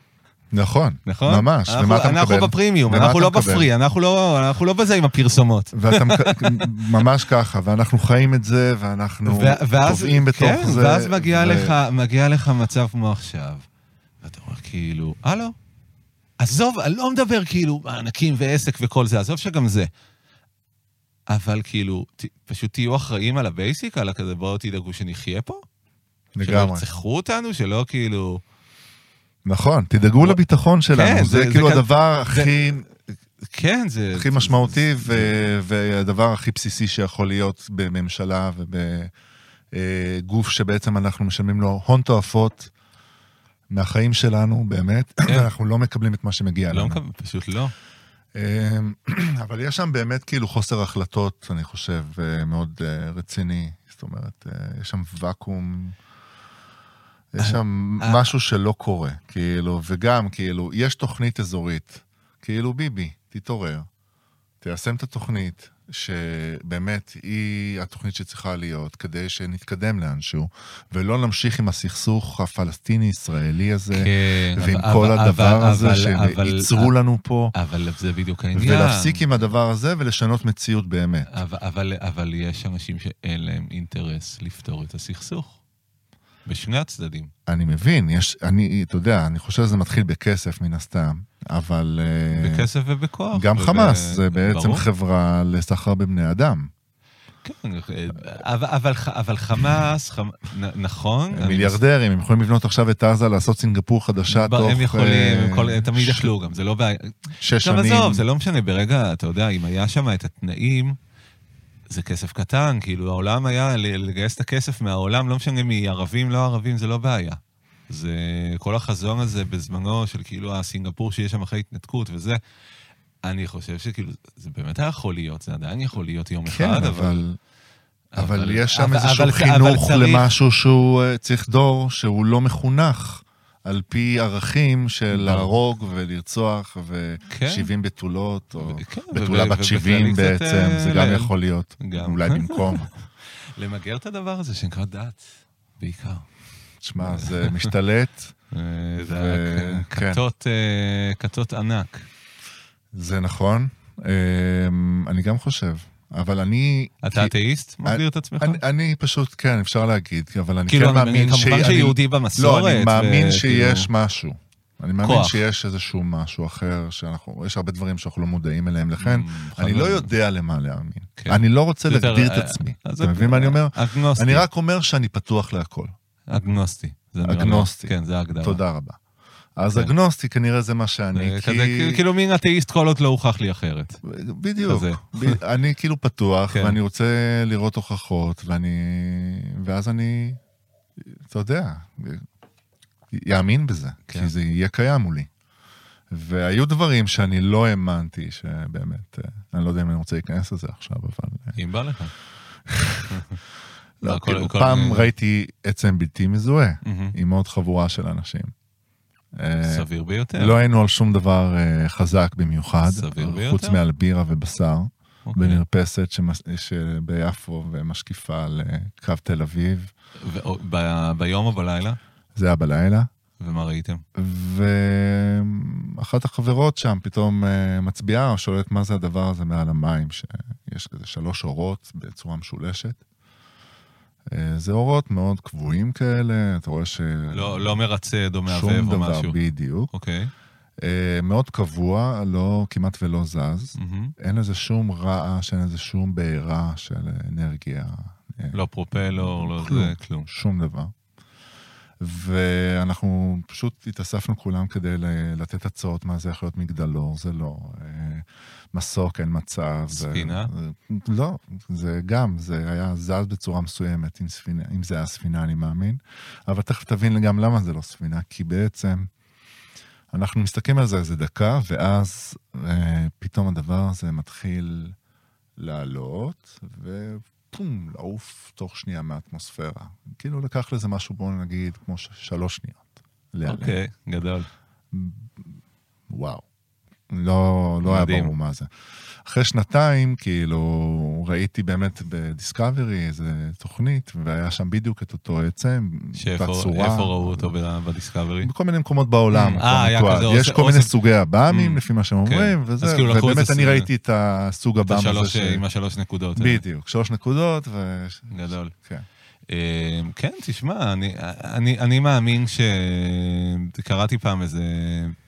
נכון, נכון? ממש, אנחנו- ומה אתה אנחנו מקבל? בפרימיום, ומה אנחנו אתה לא מקבל? בפרי, אנחנו לא- אנחנו לא בזה עם הפרסומות. ואתה מק- ממש ככה, ואנחנו חיים את זה, ואנחנו ו- ואז- טובעים בתוך כן, זה. ואז מגיע ו- לך, מגיע לך מצב כמו עכשיו, ואתה אומר כאילו, הלו, עזוב, אני לא מדבר כאילו מענקים ועסק וכל זה, עזוב שגם זה. אבל כאילו, ת, פשוט תהיו אחראים על הבייסיק, על הכזה, בואו תדאגו שנחיה פה? שלא לגמרי. ירצחו אותנו, שלא כאילו... נכון, תדאגו לביטחון כן, שלנו, זה- זה זה כאילו כ- הדבר הכי כן, זה... הכי משמעותי ו- והדבר הכי בסיסי שיכול להיות בממשלה ובגוף שבעצם אנחנו משלמים לו הון תועפות מהחיים שלנו, באמת, כן. ואנחנו לא מקבלים את מה שמגיע לא לנו. מקבל, פשוט לא. אמ, אבל יש שם באמת כאילו חוסר החלטות, אני חושב, אה, מאוד אה, רציני. זאת אומרת, אה, יש שם ואקום, יש שם אה. משהו שלא קורה, כאילו, וגם, כאילו, יש תוכנית אזורית, כאילו, ביבי, תתעורר, תיישם את התוכנית, שבאמת היא התוכנית שצריכה להיות, כדי שנתקדם לאנשהו, ולא נמשיך עם הסכסוך הפלסטיני-ישראלי הזה, כן, ועם אבל- כל אבל- הדבר אבל- הזה אבל- אה, שייצרו אבל- לנו פה. אבל זה בדיוק העניין. ולהפסיק עם הדבר הזה ולשנות מציאות באמת. אבל, אבל, אבל יש אנשים שאין להם אינטרס לפתור את הסכסוך. בשני הצדדים. אני מבין, יש, אני, אתה יודע, אני חושב שזה מתחיל בכסף מן הסתם, אבל... אה, בכסף ובכוח. גם וב- חמאס זה בעצם ברור. חברה לסחר בבני אדם. כן, אבל, אבל, ח- אבל חמאס, חמ... נ- נכון. הם אני מיליארדרים, הם יכולים לבנות עכשיו את עזה, לעשות סינגפור מס- חדשה ב- תוך... הם יכולים, הם כל- אה, הם תמיד ש- יכלו גם, זה לא בעיה. שש עכשיו שנים. עזוב, זה לא משנה, ברגע, אתה יודע, אם היה שם את התנאים, זה כסף קטן, כאילו העולם היה, ל- לגייס את הכסף מהעולם, לא משנה מי ערבים, לא ערבים, זה לא בעיה. זה כל החזון הזה בזמנו של כאילו הסינגפור שיש שם אחרי התנתקות וזה, אני חושב שכאילו, זה באמת היה יכול להיות, זה עדיין יכול להיות יום כן, אחד, אבל... אבל יש שם אבל- איזשהו אבל- אבל חינוך צריך- למשהו שהוא אה, צריך דור שהוא לא מחונך על פי ערכים של ברור. להרוג ולרצוח כן. ו-70 בתולות, או כן, בתולה ו- ו- בת 70 ובכללי קצת, בעצם, אה, זה גם ל- יכול להיות, גם. אולי במקום. למגר את הדבר הזה שנקרא דת, בעיקר. תשמע, זה משתלט, אה, זה ו- היה כ- כן. כתות, אה, כתות ענק. זה נכון, אה, אני גם חושב, אבל אני... אתה כי- אתאיסט? מגדיר את עצמך? אני- אני פשוט, כן, אפשר להגיד, אבל אני כאילו, כן אני- מאמין ש... כמובן אני- שיהודי במסורת. לא, אני ו- מאמין כאילו- שיש משהו. אני מאמין כוח. שיש איזשהו משהו אחר, שאנחנו, יש הרבה דברים שאנחנו לא מודעים אליהם, לכן Mm, אני חבל. לא יודע למה להאמין. כן. אני לא רוצה זה יותר, להגדיר אה, את עצמי. אז אתה מבין מה אני אומר? אגנוסטי. אני רק אומר שאני פתוח להכל. אגנוסטי. זה נראה לי- אגנוסטי. כן, זה ההגדרה. תודה רבה. אז כן. אגנוסטי כנראה זה מה שאני, זה כי... כן. כזה, כאילו- כאילו מין אתאיסט כל עוד לא הוכח לי אחרת. בדיוק. כזה. ב- אני כאילו פתוח, כן. ואני רוצה לראות הוכחות, ואני... ואז אני, אתה יודע, יאמין בזה, כן. כי זה יהיה קיים מולי. והיו דברים שאני לא האמנתי שבאמת, אה, אני לא יודע אם אני רוצה להיכנס לזה עכשיו, אבל... אה, אם בא לך. כל- לא, כאילו, כל פעם מיני- ראיתי עצם בלתי מזוהה מהמם. עם עוד חבורה של אנשים. אה, סביר ביותר. לא היינו על שום דבר אה, חזק במיוחד, סביר חוץ ביותר. מעל בירה ובשר. אוקיי. במרפסת שמס- שביפו ומשקיפה על אה, קו תל אביב. ו- ב- ביום או בלילה? זה היה בלילה. ומה ראיתם? ואחת החברות שם פתאום אה, מצביעה או שואלת מה זה הדבר הזה מעל המים, שיש כזה שלוש אורות בצורה משולשת. אה, זה אורות מאוד קבועים כאלה, אתה רואה ש... לא לא מרצד או שום מעבב או דבר, משהו. בדיוק. אוקיי. אה, מאוד קבוע, לא, כמעט ולא זז. מהמם. אין לזה שום רעש, אין לזה שום בעירה של אנרגיה. אה, לא פרופלור, לא כלום. זה, כלום. שום דבר. ואנחנו פשוט התאספנו כולם כדי ל- לתת הצעות מה זה יכול להיות מגדלור, זה לא. אה, מסוק, אין מצב. זה- ספינה? זה- לא, זה גם, זה היה זז בצורה מסוימת, אם, ספינה, אם זה היה ספינה, אני מאמין. אבל תכף תבין גם למה זה לא ספינה, כי בעצם אנחנו מסתכלים על זה איזה דקה, ואז אה, פתאום הדבר הזה מתחיל לעלות, ופום, לעוף תוך שנייה מהאטמוספירה. כאילו לקח לזה משהו, בואו נגיד, כמו כן. ש- שלוש שניות. להיעלם. אוקיי, גדול. וואו. לא, לא היה מדהים. ברור מה זה. אחרי שנתיים, כאילו, ראיתי באמת בדיסקאברי איזה תוכנית, והיה שם בדיוק את אותו עצם, אותה שאיפה צורה. איפה ראו אותו ב- בדיסקאברי? בכל מיני מקומות בעולם. Mm, אותו אה, היה מתועד. כזה יש אוסף- כל מיני אוסף- סוגי עב"מים, Mm, לפי מה שהם כן. אומרים, אז וזה, כאילו לקחו ובאמת איזה אני ס- ראיתי את הסוג את עב"ם הזה. השלוש ש- אה, עם השלוש נקודות. האלה. בדיוק, שלוש נקודות, ו... גדול. כן. אה, כן, תשמע, אני, אני, אני מאמין ש... קראתי פעם איזה,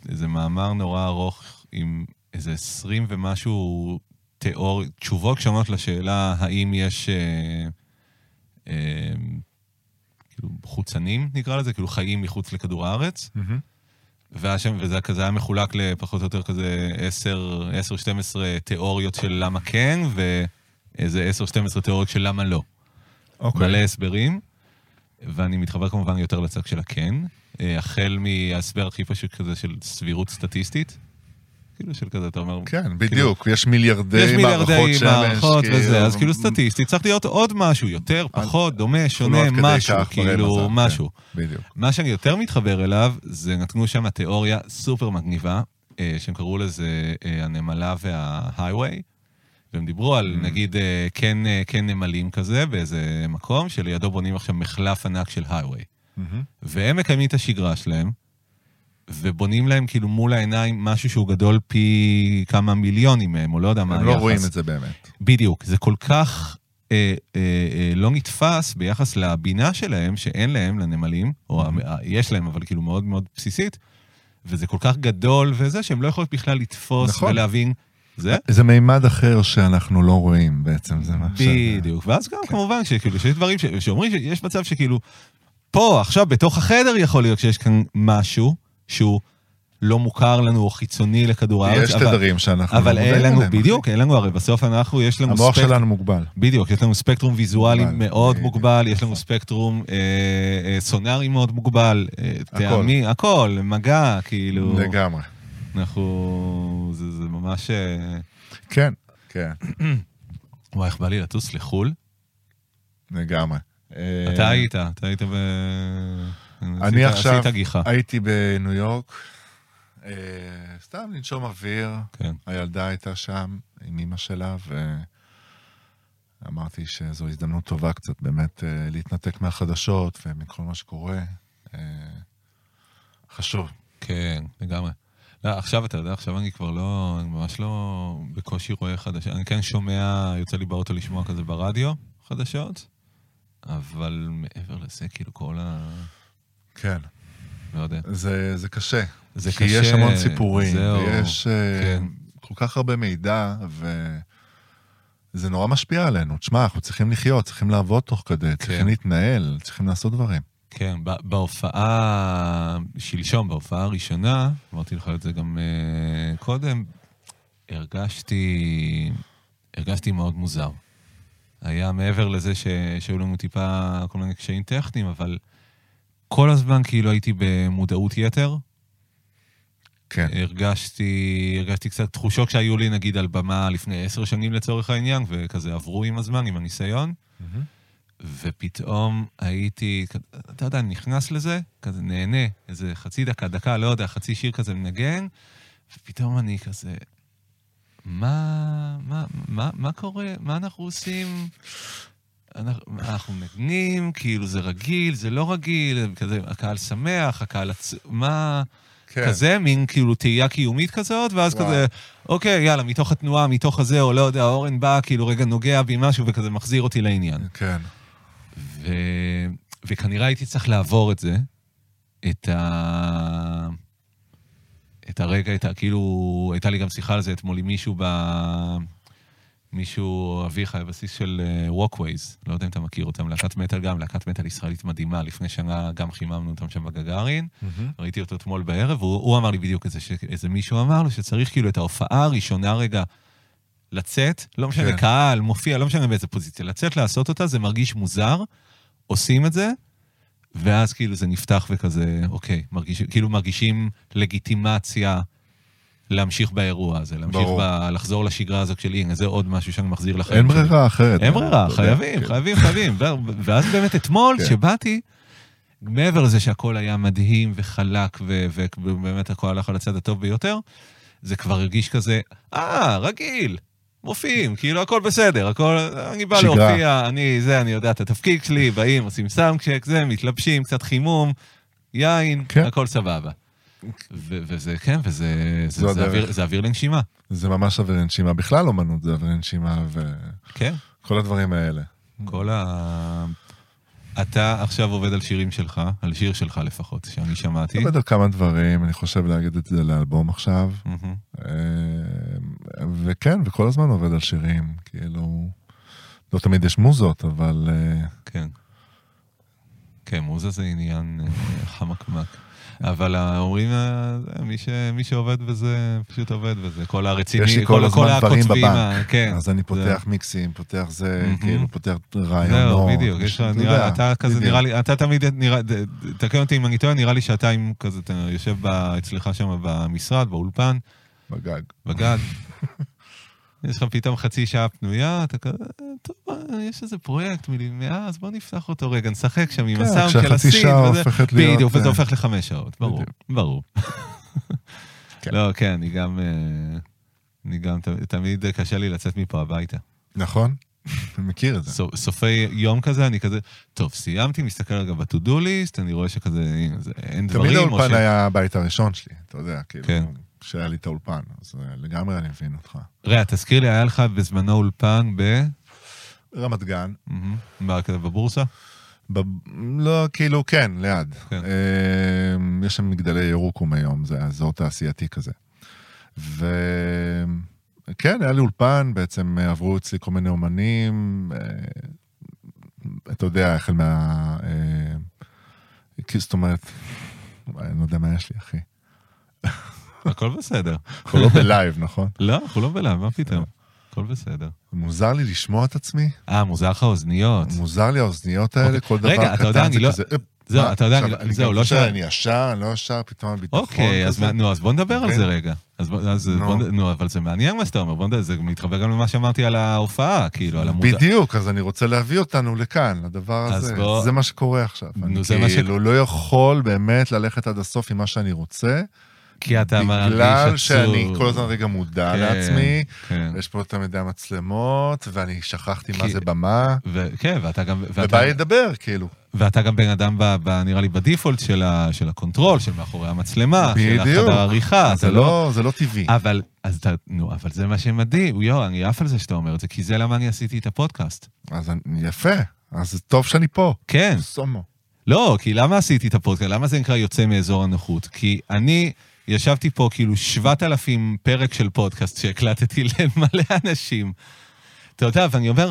איזה מאמר נורא ארוך עם איזה 20 ומשהו תיאור, תשובות שונות לשאלה האם יש אה, אה, כאילו חוצנים, נקרא לזה, כאילו חיים מחוץ לכדור הארץ. מהמם. והיה שם, וזה כזה היה מחולק לפחות או יותר כזה 10-12 תיאוריות של למה כן, ואיזה 10-12 תיאוריות של למה לא. מלא אוקיי. הסברים, ואני מתחבר כמובן יותר לצד של הכן, אה, החל מההסבר הכי פשוט כזה של סבירות סטטיסטית, כאילו של כזה, אתה אומר... כן, בדיוק, יש מיליארדי כאילו, יש מיליארדי מערכות שמש. מערכות כאילו, וזה, אז כאילו מ- סטטיסטית צריך להיות עוד משהו, יותר, פחות, דומה, שונה, לא עד כדי משהו, כך מראה כאילו, מזל, כן. משהו. בדיוק. מה שאני יותר מתחבר אליו, זה נתנו שם תיאוריה סופר מגניבה, אה, שהם קראו לזה אה, הנמלה וההייווי, והם דיברו Mm. על נגיד אה, כן, אה, כן נמלים כזה באיזה מקום, שלידו בונים עכשיו מחלף ענק של הייווי. מהמם. והם מקיימים את השגרה שלהם, ובונים להם כאילו מול העיניים משהו שהוא גדול פי כמה מיליונים מהם, או לא יודע מה הם היחס. לא רואים את זה באמת. בדיוק, זה כל כך אה, אה, אה, לא נתפס ביחס לבינה שלהם, שאין להם, לנמלים, או ה- ה- יש להם, אבל כאילו מאוד מאוד בסיסית, וזה כל כך גדול וזה, שהם לא יכולים בכלל לתפוס נכון. ולהבין. זה? זה מימד אחר שאנחנו לא רואים בעצם, זה מה ש... בדיוק. ואז כן. גם כמובן, שכאילו, שיש דברים ש- שאומרים שיש מצב שכאילו, פה, עכשיו, בתוך החדר יכול להיות שיש כאן משהו שהוא לא מוכר לנו או חיצוני לכדור הארץ, יש אבל- תדרים שאנחנו אבל לא אין מודעים לנו, אליהם, אחי. בדיוק, אין לנו, הרי בסוף אנחנו, יש לנו המוח ספקטרום. שלנו מוגבל. בדיוק, יש לנו ספקטרום ויזואלי מוגבל, מאוד בדיוק. מוגבל, יש נכון. לנו ספקטרום אה, אה, סונארי מאוד מוגבל, אה, טעמי, הכל, מגע, כאילו, לגמרי. אנחנו, זה זה ממש, אה, כן, כן, וואי, איך בא לי לטוס לחו"ל? לגמרי. אה, אתה היית, אתה היית ב... אני עשית- עכשיו עשית גיחה, הייתי בניו יורק, אה, סתם לנשום אוויר, כן. הילדה הייתה שם עם אימא שלה, ואמרתי שזו הזדמנות טובה קצת באמת אה, להתנתק מהחדשות ומכל מה שקורה. אה, חשוב. כן, לגמרי. לא, עכשיו אתה יודע, עכשיו אני כבר לא, אני ממש לא בקושי רואה חדשות. אני כן שומע, יוצא לי באוטו לשמוע כזה ברדיו חדשות, אבל מעבר לזה, כאילו כל ה... כן. לא יודע. זה, זה קשה. זה כי קשה, יש המון סיפורים, זהו, ויש אה, כן. כל כך הרבה מידע, וזה נורא משפיע עלינו. תשמע, אנחנו צריכים לחיות, צריכים לעבוד תוך כדי, צריכים להתנהל, צריכים לעשות דברים. כן, ב- בהופעה, שלשום, בהופעה הראשונה, אמרתי לך את זה גם אה, קודם, הרגשתי, הרגשתי מאוד מוזר. היה מעבר לזה ש, שהיו לנו טיפה כל מיני קשיים טכניים, אבל כל הזמן כאילו הייתי במודעות יתר. כן. הרגשתי, הרגשתי קצת תחושות שהיו לי נגיד על במה לפני עשר שנים לצורך העניין, וכזה עברו עם הזמן, עם הניסיון. ופתאום הייתי, אתה יודע, אני נכנס לזה, כזה נהנה, איזה חצי דקה, דקה, לא יודע, חצי שיר כזה מנגן, ופתאום אני כזה, מה, מה, מה, מה קורה? מה אנחנו עושים? אנחנו, אנחנו מנגנים, כאילו זה רגיל, זה לא רגיל, כזה, הקהל שמח, הקהל, עצ... מה... כן. כזה, מין כאילו תהייה קיומית כזאת, ואז וואו. כזה, אוקיי, יאללה, מתוך התנועה, מתוך הזה, או לא יודע, אורן בא, כאילו רגע נוגע בי משהו וכזה מחזיר אותי לעניין. כן. ו... וכנראה הייתי צריך לעבור את זה, את ה... את הרגע, את ה... כאילו, הייתה לי גם שיחה על זה אתמול עם מישהו ב... מישהו, אביך, הבסיס של ווקווייז, לא יודע אם אתה מכיר אותם, להקת מטאל גם, להקת מטאל ישראלית מדהימה, לפני שנה גם חיממנו אותם שם בגגארין, Mm-hmm. ראיתי אותו אתמול בערב, הוא, הוא אמר לי בדיוק את זה, שאיזה מישהו אמר לו שצריך כאילו את ההופעה הראשונה רגע לצאת, לא משנה כן. כן. קהל, מופיע, לא משנה באיזה פוזיציה, לצאת לעשות אותה, זה מרגיש מוזר, עושים את זה, ואז כאילו זה נפתח וכזה, אוקיי, מרגיש, כאילו מרגישים לגיטימציה להמשיך באירוע הזה, להמשיך ברור. ב, לחזור לשגרה הזאת של הנה, זה עוד משהו שאני מחזיר לחיים אין שלי. ברירה אחרת. אין ברירה, אתה יודע, חייבים, כן. חייבים, חייבים. ו- ואז באמת אתמול, כן. כשבאתי, מעבר לזה שהכל היה מדהים וחלק, ו- ובאמת הכל הלך על הצד הטוב ביותר, זה כבר הרגיש כזה, אה, רגיל, מופיעים, כאילו הכל בסדר, הכל, אני בא שגרה. להופיע, אני זה, אני יודע את התפקיד שלי, באים, עושים סאונדשק, זה, מתלבשים, קצת חימום, יין, כן. הכל סבבה. ו- וזה, כן, וזה זה- זו זה הדרך. אוויר- זה אוויר לנשימה, זה ממש אוויר נשימה, בכלל אומנות זה אוויר נשימה כן. וכל הדברים האלה. כל ה... אתה עכשיו עובד על שירים שלך, על שיר שלך לפחות, שאני שמעתי. אני עובד על כמה דברים, אני חושב להגיד את זה לאלבום עכשיו. מהמם. אה, וכן, וכל הזמן עובד על שירים, כאילו... לא תמיד יש מוזות, אבל... אה, כן. כן, מוזה זה עניין אה, חמקמק. אבל אומרים, אה, זה, מי, ש... מי שעובד בזה, פשוט עובד בזה. כל הרציני, יש לי כל הזמן דברים הקוצבים, בבנק, ה- כן. אז אני פותח מיקסים, פותח זה, מהמם. כאילו פותח זהו, רעיונות. בדיוק, יש לך, לא- אתה נראה, יודע, אתה כזה בדיוק. נראה לי, אתה תמיד נראה, ת- ת- תקן אותי אם אני טועה, נראה לי שאתה עם כזה, אתה יושב ב- אצלך שם במשרד, באולפן, בגג. בגג. יש לך פתאום חצי שעה פנויה, אתה כזה, טוב, אה, יש איזה פרויקט מלמאה, אז בוא נפתח אותו רגע, נשחק שם עם כן, הסאונד של כשהחצי הסין. שעה וזה." הופכת להיות, בדיוק, וזה אה, הופך לחמש שעות, ברור, ברור. כן. לא, כן, אני גם, אה, אני גם, ת- תמיד אה, קשה לי לצאת מפה הביתה. נכון? אני מכיר את זה. סו- סופי יום כזה, אני כזה, טוב, סיימתי, מסתכל רגע ב-to-do list, אני רואה שכזה, אה, זה- אין דברים. תמיד או ש- האולפן היה הבית הראשון שלי, אתה יודע, כאילו, כן. כשהיה לי את האולפן, אז אה, לגמרי אני מבין אותך. ראה, תזכיר לי, היה לך בזמנו אולפן ב... רמת גן, מהמם, מה, כזה בבורסה? ב... לא, כאילו, כן, ליד. כן. אה, יש שם מגדלי ירוקום היום, זה אזור תעשייתי כזה. וכן, היה לי אולפן, בעצם אה, עברו אצלי כל מיני אומנים, אה, אתה יודע, החל מה... אה, כי- זאת אומרת, וואי, אני לא יודע מה יש לי, אחי. הכל בסדר. אנחנו לא בלייב, נכון? לא, אנחנו לא בלעם, מה פתאום? הכל בסדר. מוזר לי לשמוע את עצמי, אה, מוזר לך אוזניות. מוזר לי האוזניות האלה, אוקיי. כל דבר רגע, אתה יודע, קטן אני זה לא- כזה... "אפ, זהו, מה, אתה יודע, עכשיו אני לא- אני זהו, גם לא חושב, שאל- אני ישר, אני לא ישר, פתאום הביטחון אוקיי, אז כזה. מה- נו, אז בוא נדבר על אוקיי. זה רגע. אז בוא- אז נו. בוא נ- נו, אבל זה מעניין מה שאתה אומר, בוא נדבר, זה מתחבר גם למה שאמרתי על ההופעה, כאילו, על המודע. בדיוק, אז אני רוצה להביא אותנו לכאן, לדבר אז הזה. בוא- זה מה שקורה עכשיו. נו, אני זה מה ש- כאילו לא יכול באמת ללכת עד הסוף עם מה שאני רוצה, כי אתה מרגיש עצוב. בגלל שאני כל הזמן רגע מודע כן, לעצמי, כן. יש פה יותר מדי מצלמות, ואני שכחתי מה כי- זה במה, ו- כן, ואתה גם... ואתה- ובא לי לדבר, כאילו. ואתה גם בן אדם, ב- ב- נראה לי, בדיפולט של ה- של הקונטרול, של מאחורי המצלמה, של בדיוק. החדר העריכה, זה אתה לא... לא זה לא טבעי. אבל, אז אתה, נו, אבל זה מה שמדהים, יואו, אני עף על זה שאתה אומר את זה, כי זה למה אני עשיתי את הפודקאסט. אז אני- יפה, אז זה טוב שאני פה. כן. סומו. לא, כי למה עשיתי את הפודקאסט? למה זה נקרא יוצא מאזור הנוחות? כי אני ישבתי פה כאילו 7,000 פרק של פודקאסט שהקלטתי למלא אנשים. אתה יודע, ואני אומר,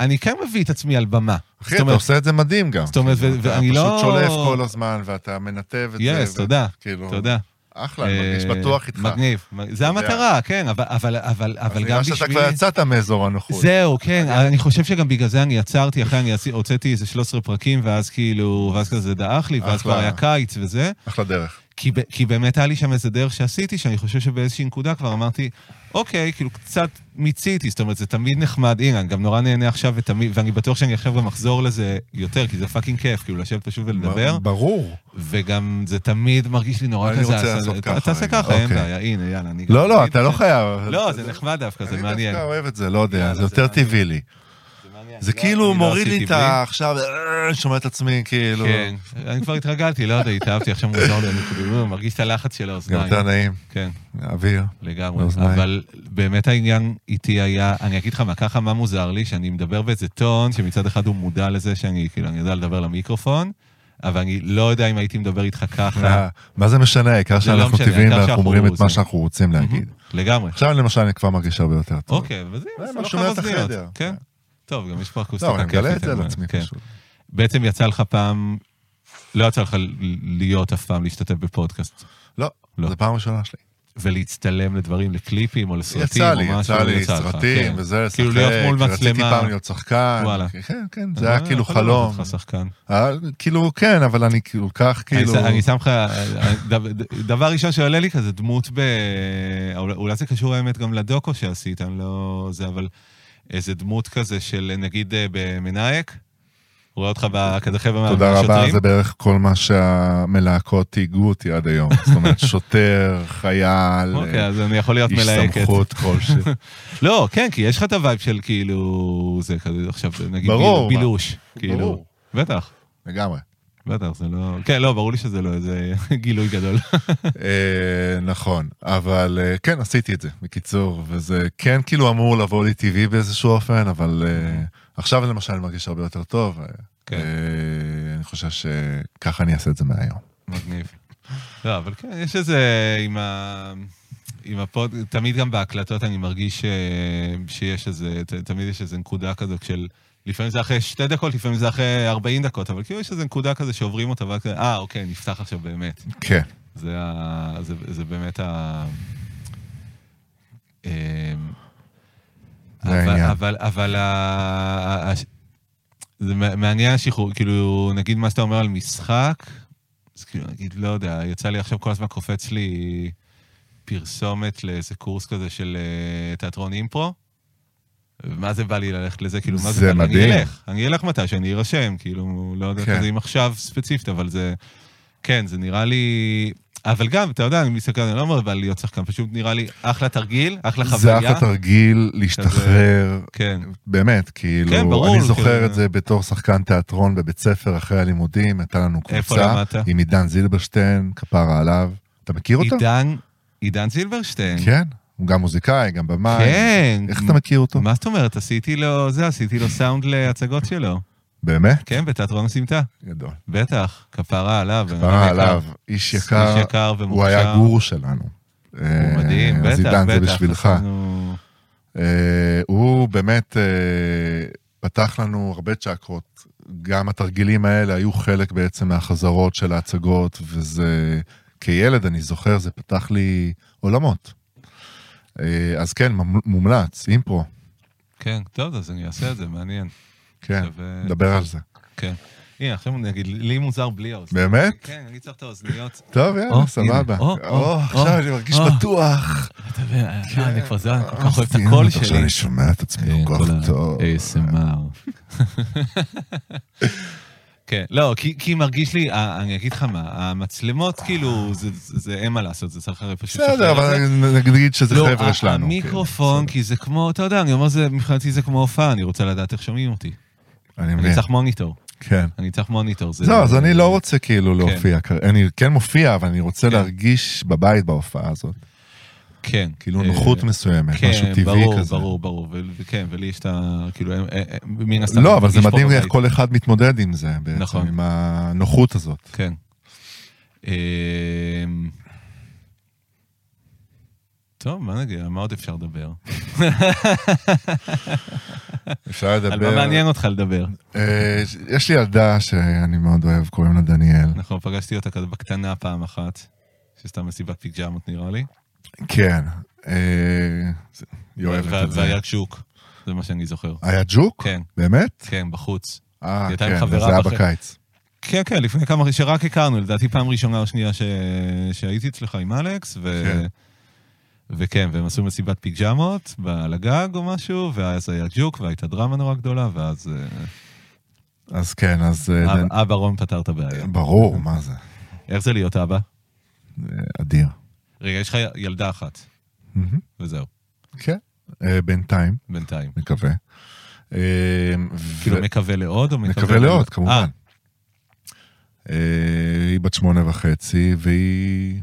אני כן מביא את עצמי על במה. אחי, אתה עושה את זה מדהים גם. זאת אומרת, ו- כאילו, ואני אתה לא- פשוט שולף כל הזמן, ואתה מנתב את זה. יס, ו- תודה, כאילו, תודה. אחלה, אני מרגיש אה, בטוח איתך. מגניב. זה יודע. המטרה, כן, אבל- אבל אבל- אבל אז גם נראה בשבילי... שאתה כבר יצאת מאזור הנוחות. זהו, כן, אני חושב שגם בגלל זה אני עצרתי, אחרי אני עשי- הוצאתי איזה 13 פרקים, ואז כאילו, ואז כזה דעך לי, ואז אחלה. כבר היה קיץ וזה. אחלה דרך. כי, ב- כי באמת היה לי שם איזה דרך שעשיתי, שאני חושב שבאיזושהי נקודה כבר אמרתי, אוקיי, כאילו קצת מיציתי, זאת אומרת, זה תמיד נחמד, הנה, אני גם נורא נהנה עכשיו, ותמיד, ואני בטוח שאני עכשיו גם אחזור לזה יותר, כי זה פאקינג כיף, כאילו, לשבת פשוט ולדבר, ב- ברור. וגם זה תמיד מרגיש לי נורא אני כזה, רוצה אז- לעשות ת- ככה תעשה רגע, ככה, אין אוקיי. בעיה, הנה, יאללה, אני גם... לא, לא, אני- אתה לא חייב. לא, זה נחמד דווקא, זה אני מעניין. דווקא אוהב את זה, לא יודע, יאללה, זה זה יותר מעניין. טבעי לי. מעניין, זה לא- כאילו אני לא מוריד לי עשיתי את בלי. ה... עכשיו, אה, שומע את עצמי, כאילו. כן, אני כבר התרגלתי, לא יודע, התאהבתי, עכשיו מוזר לי, אני כאילו מרגיש את הלחץ של האוזניים. גם יותר נעים. כן. אוויר. לגמרי, לאוזניים. אבל באמת העניין איתי היה, אני אגיד לך מה, ככה מה מוזר לי, שאני מדבר באיזה טון, שמצד אחד הוא מודע לזה שאני, כאילו, אני יודע לדבר למיקרופון, אבל אני לא יודע אם הייתי מדבר איתך ככה. מה- מה זה משנה, העיקר זה לא שאנחנו משנה, טבעיים העיקר ואנחנו שאנחנו אומרים את מה זה. שאנחנו רוצים להגיד. לגמרי. עכשיו למשל אני כבר מרגיש הרבה יותר טוב. אוקיי, וזה זה זה מה לא שומע את חייב אוזניות. החדר. כן. טוב, גם יש פה אקוסטיקה לא, אני מגלה את זה על אבל- עצמי כן. פשוט. בעצם יצא לך פעם, לא יצא לך להיות אף פעם, להשתתף בפודקאסט. לא, לא. זו פעם ראשונה שלי. ולהצטלם לדברים, לקליפים או לסרטים, יצא או לי, משהו, יצא לי לך, סרטים כן. וזה, לשחק. כאילו להיות מול רציתי מצלמה. פעם להיות שחקן. וואלה. כן, כן, זה היה אה, כאילו יכול לראות חלום. אותך שחקן. אה, כאילו, כן, אבל אני כאילו כך, כאילו... אני, ש- אני שם לך, דב- דבר ראשון שעולה לי כזה דמות ב... אולי- אולי זה קשור האמת גם לדוקו שעשית, אני לא... זה, אבל איזה דמות כזה של נגיד אה, במנאייק, רואה אותך בקדחי במעל תודה רבה, זה בערך כל מה שהמלהקות היגעו אותי עד היום. זאת אומרת, שוטר, חייל, אוקיי, אז אני יכול להיות איש מלהקת. סמכות כלשהו. לא, כן, כי יש לך את הווייב של כאילו, זה כזה עכשיו, נגיד, ברור, ביל- מה? בילוש. כאילו, ברור. בטח, לגמרי. בטח, זה לא... כן, לא, ברור לי שזה לא איזה גילוי גדול. אה, נכון, אבל אה, כן, עשיתי את זה, בקיצור, וזה כן כאילו אמור לבוא לי טבעי באיזשהו אופן, אבל אה, עכשיו למשל אני מרגיש הרבה יותר טוב. אה, כן. אה, אני חושב שככה אני אעשה את זה מהיום. מגניב. לא, אבל כן, יש איזה, עם, ה... עם הפוד, תמיד גם בהקלטות אני מרגיש ש... שיש איזה, ת... תמיד יש איזה נקודה כזו של, לפעמים זה אחרי שתי דקות, לפעמים זה אחרי 40 דקות, אבל כאילו יש איזה נקודה כזה שעוברים אותה, ואז כזה, אה, אוקיי, נפתח עכשיו באמת. כן, זה, ה... זה, זה באמת ה... אמ, זה אבל- העניין. אבל, אבל ה... ה- ה- זה מע- מעניין השחרור, כאילו, נגיד מה שאתה אומר על משחק, אז כאילו, נגיד, לא יודע, יצא לי עכשיו כל הזמן קופץ לי פרסומת לאיזה קורס כזה של אה, תיאטרון אימפרו. מה זה בא לי ללכת לזה? כאילו, מה זה, זה בא לי? מדהים. אני אלך, אני אלך מתי שאני ארשם, כאילו, לא יודע כן. כזה אם עכשיו ספציפית, אבל זה... כן, זה נראה לי... אבל גם, אתה יודע, אני מסתכל, אני לא אומר בא לי להיות שחקן, פשוט נראה לי אחלה תרגיל, אחלה חוויה. זה אחלה תרגיל להשתחרר, כן, באמת, כאילו, כן, ברור, אני זוכר כאילו- את זה בתור שחקן תיאטרון בבית ספר אחרי הלימודים, הייתה לנו קבוצה. איפה למדת? עם עידן זילברשטיין, כפרה עליו. אתה מכיר אותו? עידן, עידן זילברשטיין. כן, הוא גם מוזיקאי, גם במאי. כן. איך אתה מכיר אותו? מה זאת אומרת? עשיתי לו, זה, עשיתי לו סאונד להצגות שלו. באמת? כן, בתיאטרון הסמטה. גדול. בטח, כפרה עליו. בן אדם אה, יקר. עליו, איש יקר, איש יקר ומוכשר. הוא היה גורו שלנו. הוא מדהים, בטח, בטח. אז עידן, זה בשבילך. אנחנו- אה, הוא באמת אה, פתח לנו הרבה צ'קרות. גם התרגילים האלה היו חלק בעצם מהחזרות של ההצגות, וזה, כילד אני זוכר, זה פתח לי עולמות. אה, אז כן, ממ- מומלץ, אימפרו, כן, טוב, אז אני אעשה את זה, מעניין. כן, שווה- נדבר על זה. כן. הנה, עכשיו אני אגיד, לי מוזר בלי האוזניות. באמת? כן, אני צריך את האוזניות. טוב, יאללה, או, סבבה. הנה, או, או, או, עכשיו או, אני מרגיש או. בטוח. אתה יודע, אה, אני כבר זה, אני כל אה, כך אוהב את סיימת, הקול עכשיו שלי. אני שומע את עצמי כן, כל כל כך ה- טוב. ASMR. כן, לא, כי, כי מרגיש לי, אה, אני אגיד לך מה, המצלמות כאילו, זה, זה, זה אין מה לעשות, זה צריך הרי פשוט... בסדר, לשחרר את אבל זה. נגיד שזה אה, לא, חבר'ה שלנו. כן, המיקרופון, כי זה כמו, אתה יודע, אני אומר, זה- מבחינתי זה כמו הופעה, אני רוצה לדעת איך שומעים אותי. כן, אני מבין, אני צריך מוניטור, כן. אני צריך מוניטור. זה- לא, אז אני לא רוצה כאילו להופיע, כ- אני כן מופיע, אבל אני רוצה להרגיש בבית בהופעה הזאת. כן. כאילו אה, נוחות מסוימת, משהו טבעי ברור, כזה. ברור, ברור, ו- וכן, ולי יש את ה... כאילו, אה, אה, אה, מן הסתם... לא, אבל זה מרגיש פה מדהים איך בבית. כל אחד מתמודד עם זה, בעצם, נכון. עם הנוחות הזאת. כן. אמ, טוב, מה נגיד? על מה עוד אפשר לדבר? אפשר לדבר... על מה מעניין אותך לדבר? אה, יש לי ילדה שאני מאוד אוהב, קוראים לה דניאל. נכון, פגשתי אותה כזה בקטנה פעם אחת, שעשתה מסיבת פיג'מות נראה לי. נכון. כן. אה, זה- היא אוהבת וה- את זה. אה. והיה ג'וק, זה מה שאני זוכר. היה ג'וק? כן. באמת? כן, בחוץ. אה, היא הייתה עם כן, חברה זה היה בח- בקיץ. כן, כן, לפני כמה, שרק הכרנו, לדעתי פעם ראשונה או שנייה ש... שהייתי אצלך עם אלכס, ו... כן. וכן, והם עשו מסיבת פיג'מות ב- על הגג או משהו, ואז היה ג'וק, והייתה דרמה נורא גדולה, ואז אה, אז כן, אז... אה, אב- אבא רון פתר את הבעיה. דנ- ברור, מה זה? איך זה להיות אבא? אה, אדיר. רגע, יש לך ילדה אחת, מהמם. וזהו, כן. אה, בינתיים, בינתיים. מקווה. אה, כאילו, ו- מקווה לעוד או מקווה... מקווה לעוד, אה, כמובן. אה, היא בת שמונה וחצי, והיא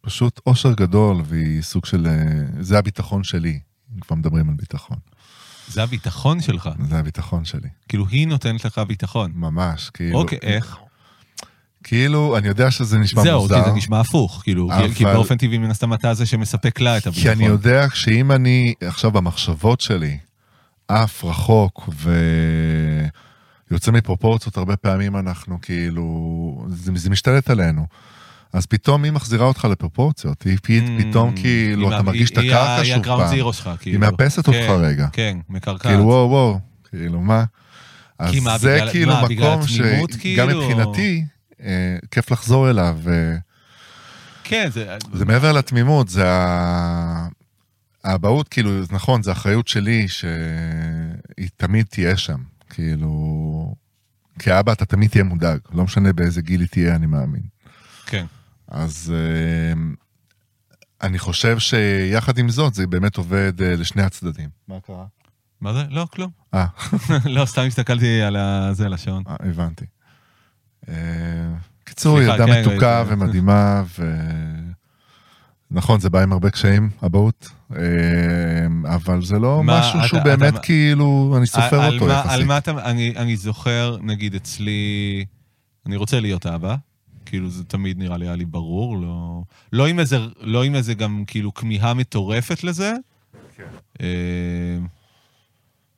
פשוט אושר גדול, והיא סוג של... אה, זה הביטחון שלי, אם כבר מדברים על ביטחון. זה הביטחון שלך. זה הביטחון שלי, כאילו, היא נותנת לך ביטחון. ממש, כאילו... אוקיי, איך? כאילו, אני יודע שזה נשמע זהו, כי מוזר. זה נשמע הפוך, כאילו, כי- אבל- כי באופן טבעי מן הסתם אתה זה שמספק לה את כי הביטחון. אני יודע שאם אני עכשיו במחשבות שלי עף רחוק ויוצא מפרופורציות, הרבה פעמים אנחנו כאילו, זה, זה משתלט עלינו. אז פתאום היא מחזירה אותך לפרופורציות, היא פת- פתאום כאילו, Mm, היא אתה מה- מרגיש את היא- היא ה- הקרקע היא שוב הגראונד פעם, זירו שלך, היא כאילו. מאפסת אותך כן, רגע, כן, מקרקעת. כאילו וואו וואו, כאילו מה? אז כי מה, זה בגלל- כאילו מה, בגלל מקום התמימות, שגם כאילו? מבחינתי, אה, כיף לחזור אליו. אה, כן, זה... זה מעבר לתמימות, זה ה- האבהות, כאילו, זה נכון, זו אחריות שלי שהיא תמיד תהיה שם. כאילו, כאבא אתה תמיד תהיה מודאג, לא משנה באיזה גיל היא תהיה, אני מאמין. כן. אז אמ, אני חושב שיחד עם זאת, זה באמת עובד אה, לשני הצדדים. מה קרה? מה זה? לא, כלום. אה, לא, סתם הסתכלתי על ה- זה, על השעון. אה, הבנתי. אה, קיצור, היא סליחה, ילדה כן, מתוקה ראיתי. ומדהימה, ו... נכון, זה בא עם הרבה קשיים, אבהות, אה, אבל זה לא מה, משהו שהוא אתה- אתה- באמת כאילו, אני סופר על- אותו על מה- על יחסית. מה אתה... אני אני זוכר, נגיד אצלי, אני רוצה להיות אבא. כאילו, זה תמיד נראה לי, היה לי ברור, לא... לא עם איזה, לא עם איזה גם כאילו כמיהה מטורפת לזה. כן.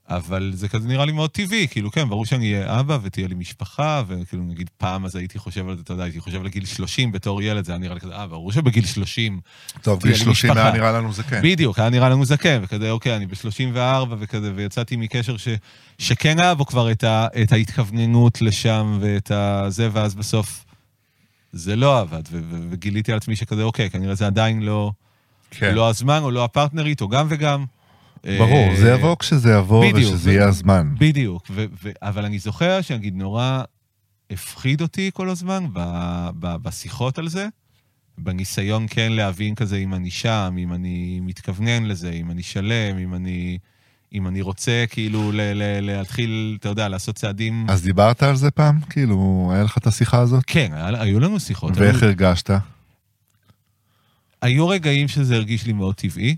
אבל זה כזה נראה לי מאוד טבעי, כאילו, כן, ברור שאני אהיה אבא ותהיה לי משפחה, וכאילו, נגיד, פעם אז הייתי חושב על זה, אתה יודע, הייתי חושב על גיל 30 בתור ילד, זה היה נראה לי כזה, אה, ברור שבגיל 30 טוב, תהיה גיל לי 30 משפחה. היה נראה לנו זה כן. בדיוק, היה נראה לנו זקן, וכזה, אוקיי, אני ב-34 וכזה, ויצאתי מקשר ש, שכן היה בו כבר את, ה, את ההתכווננות לשם ואת ה- זה, ואז בסוף זה לא עבד, ו- ו- וגיליתי על עצמי שכזה, אוקיי, כנראה זה עדיין לא, כן. לא הזמן, או לא הפרטנרית, או גם וגם. ברור, אה, זה יבוא כשזה יבוא בדיוק, ושזה זה- יהיה הזמן. בדיוק, ו- ו- אבל אני זוכר שנגיד נורא הפחיד אותי כל הזמן ב- ב- בשיחות על זה, בניסיון כן להבין כזה אם אני שם, אם אני מתכוונן לזה, אם אני שלם, אם אני, אם אני רוצה כאילו ל- ל- להתחיל, אתה יודע, לעשות צעדים. אז דיברת על זה פעם? כאילו, היה לך את השיחה הזאת? כן, היה- היו לנו שיחות. ואיך היו, הרגשת? היו רגעים שזה הרגיש לי מאוד טבעי,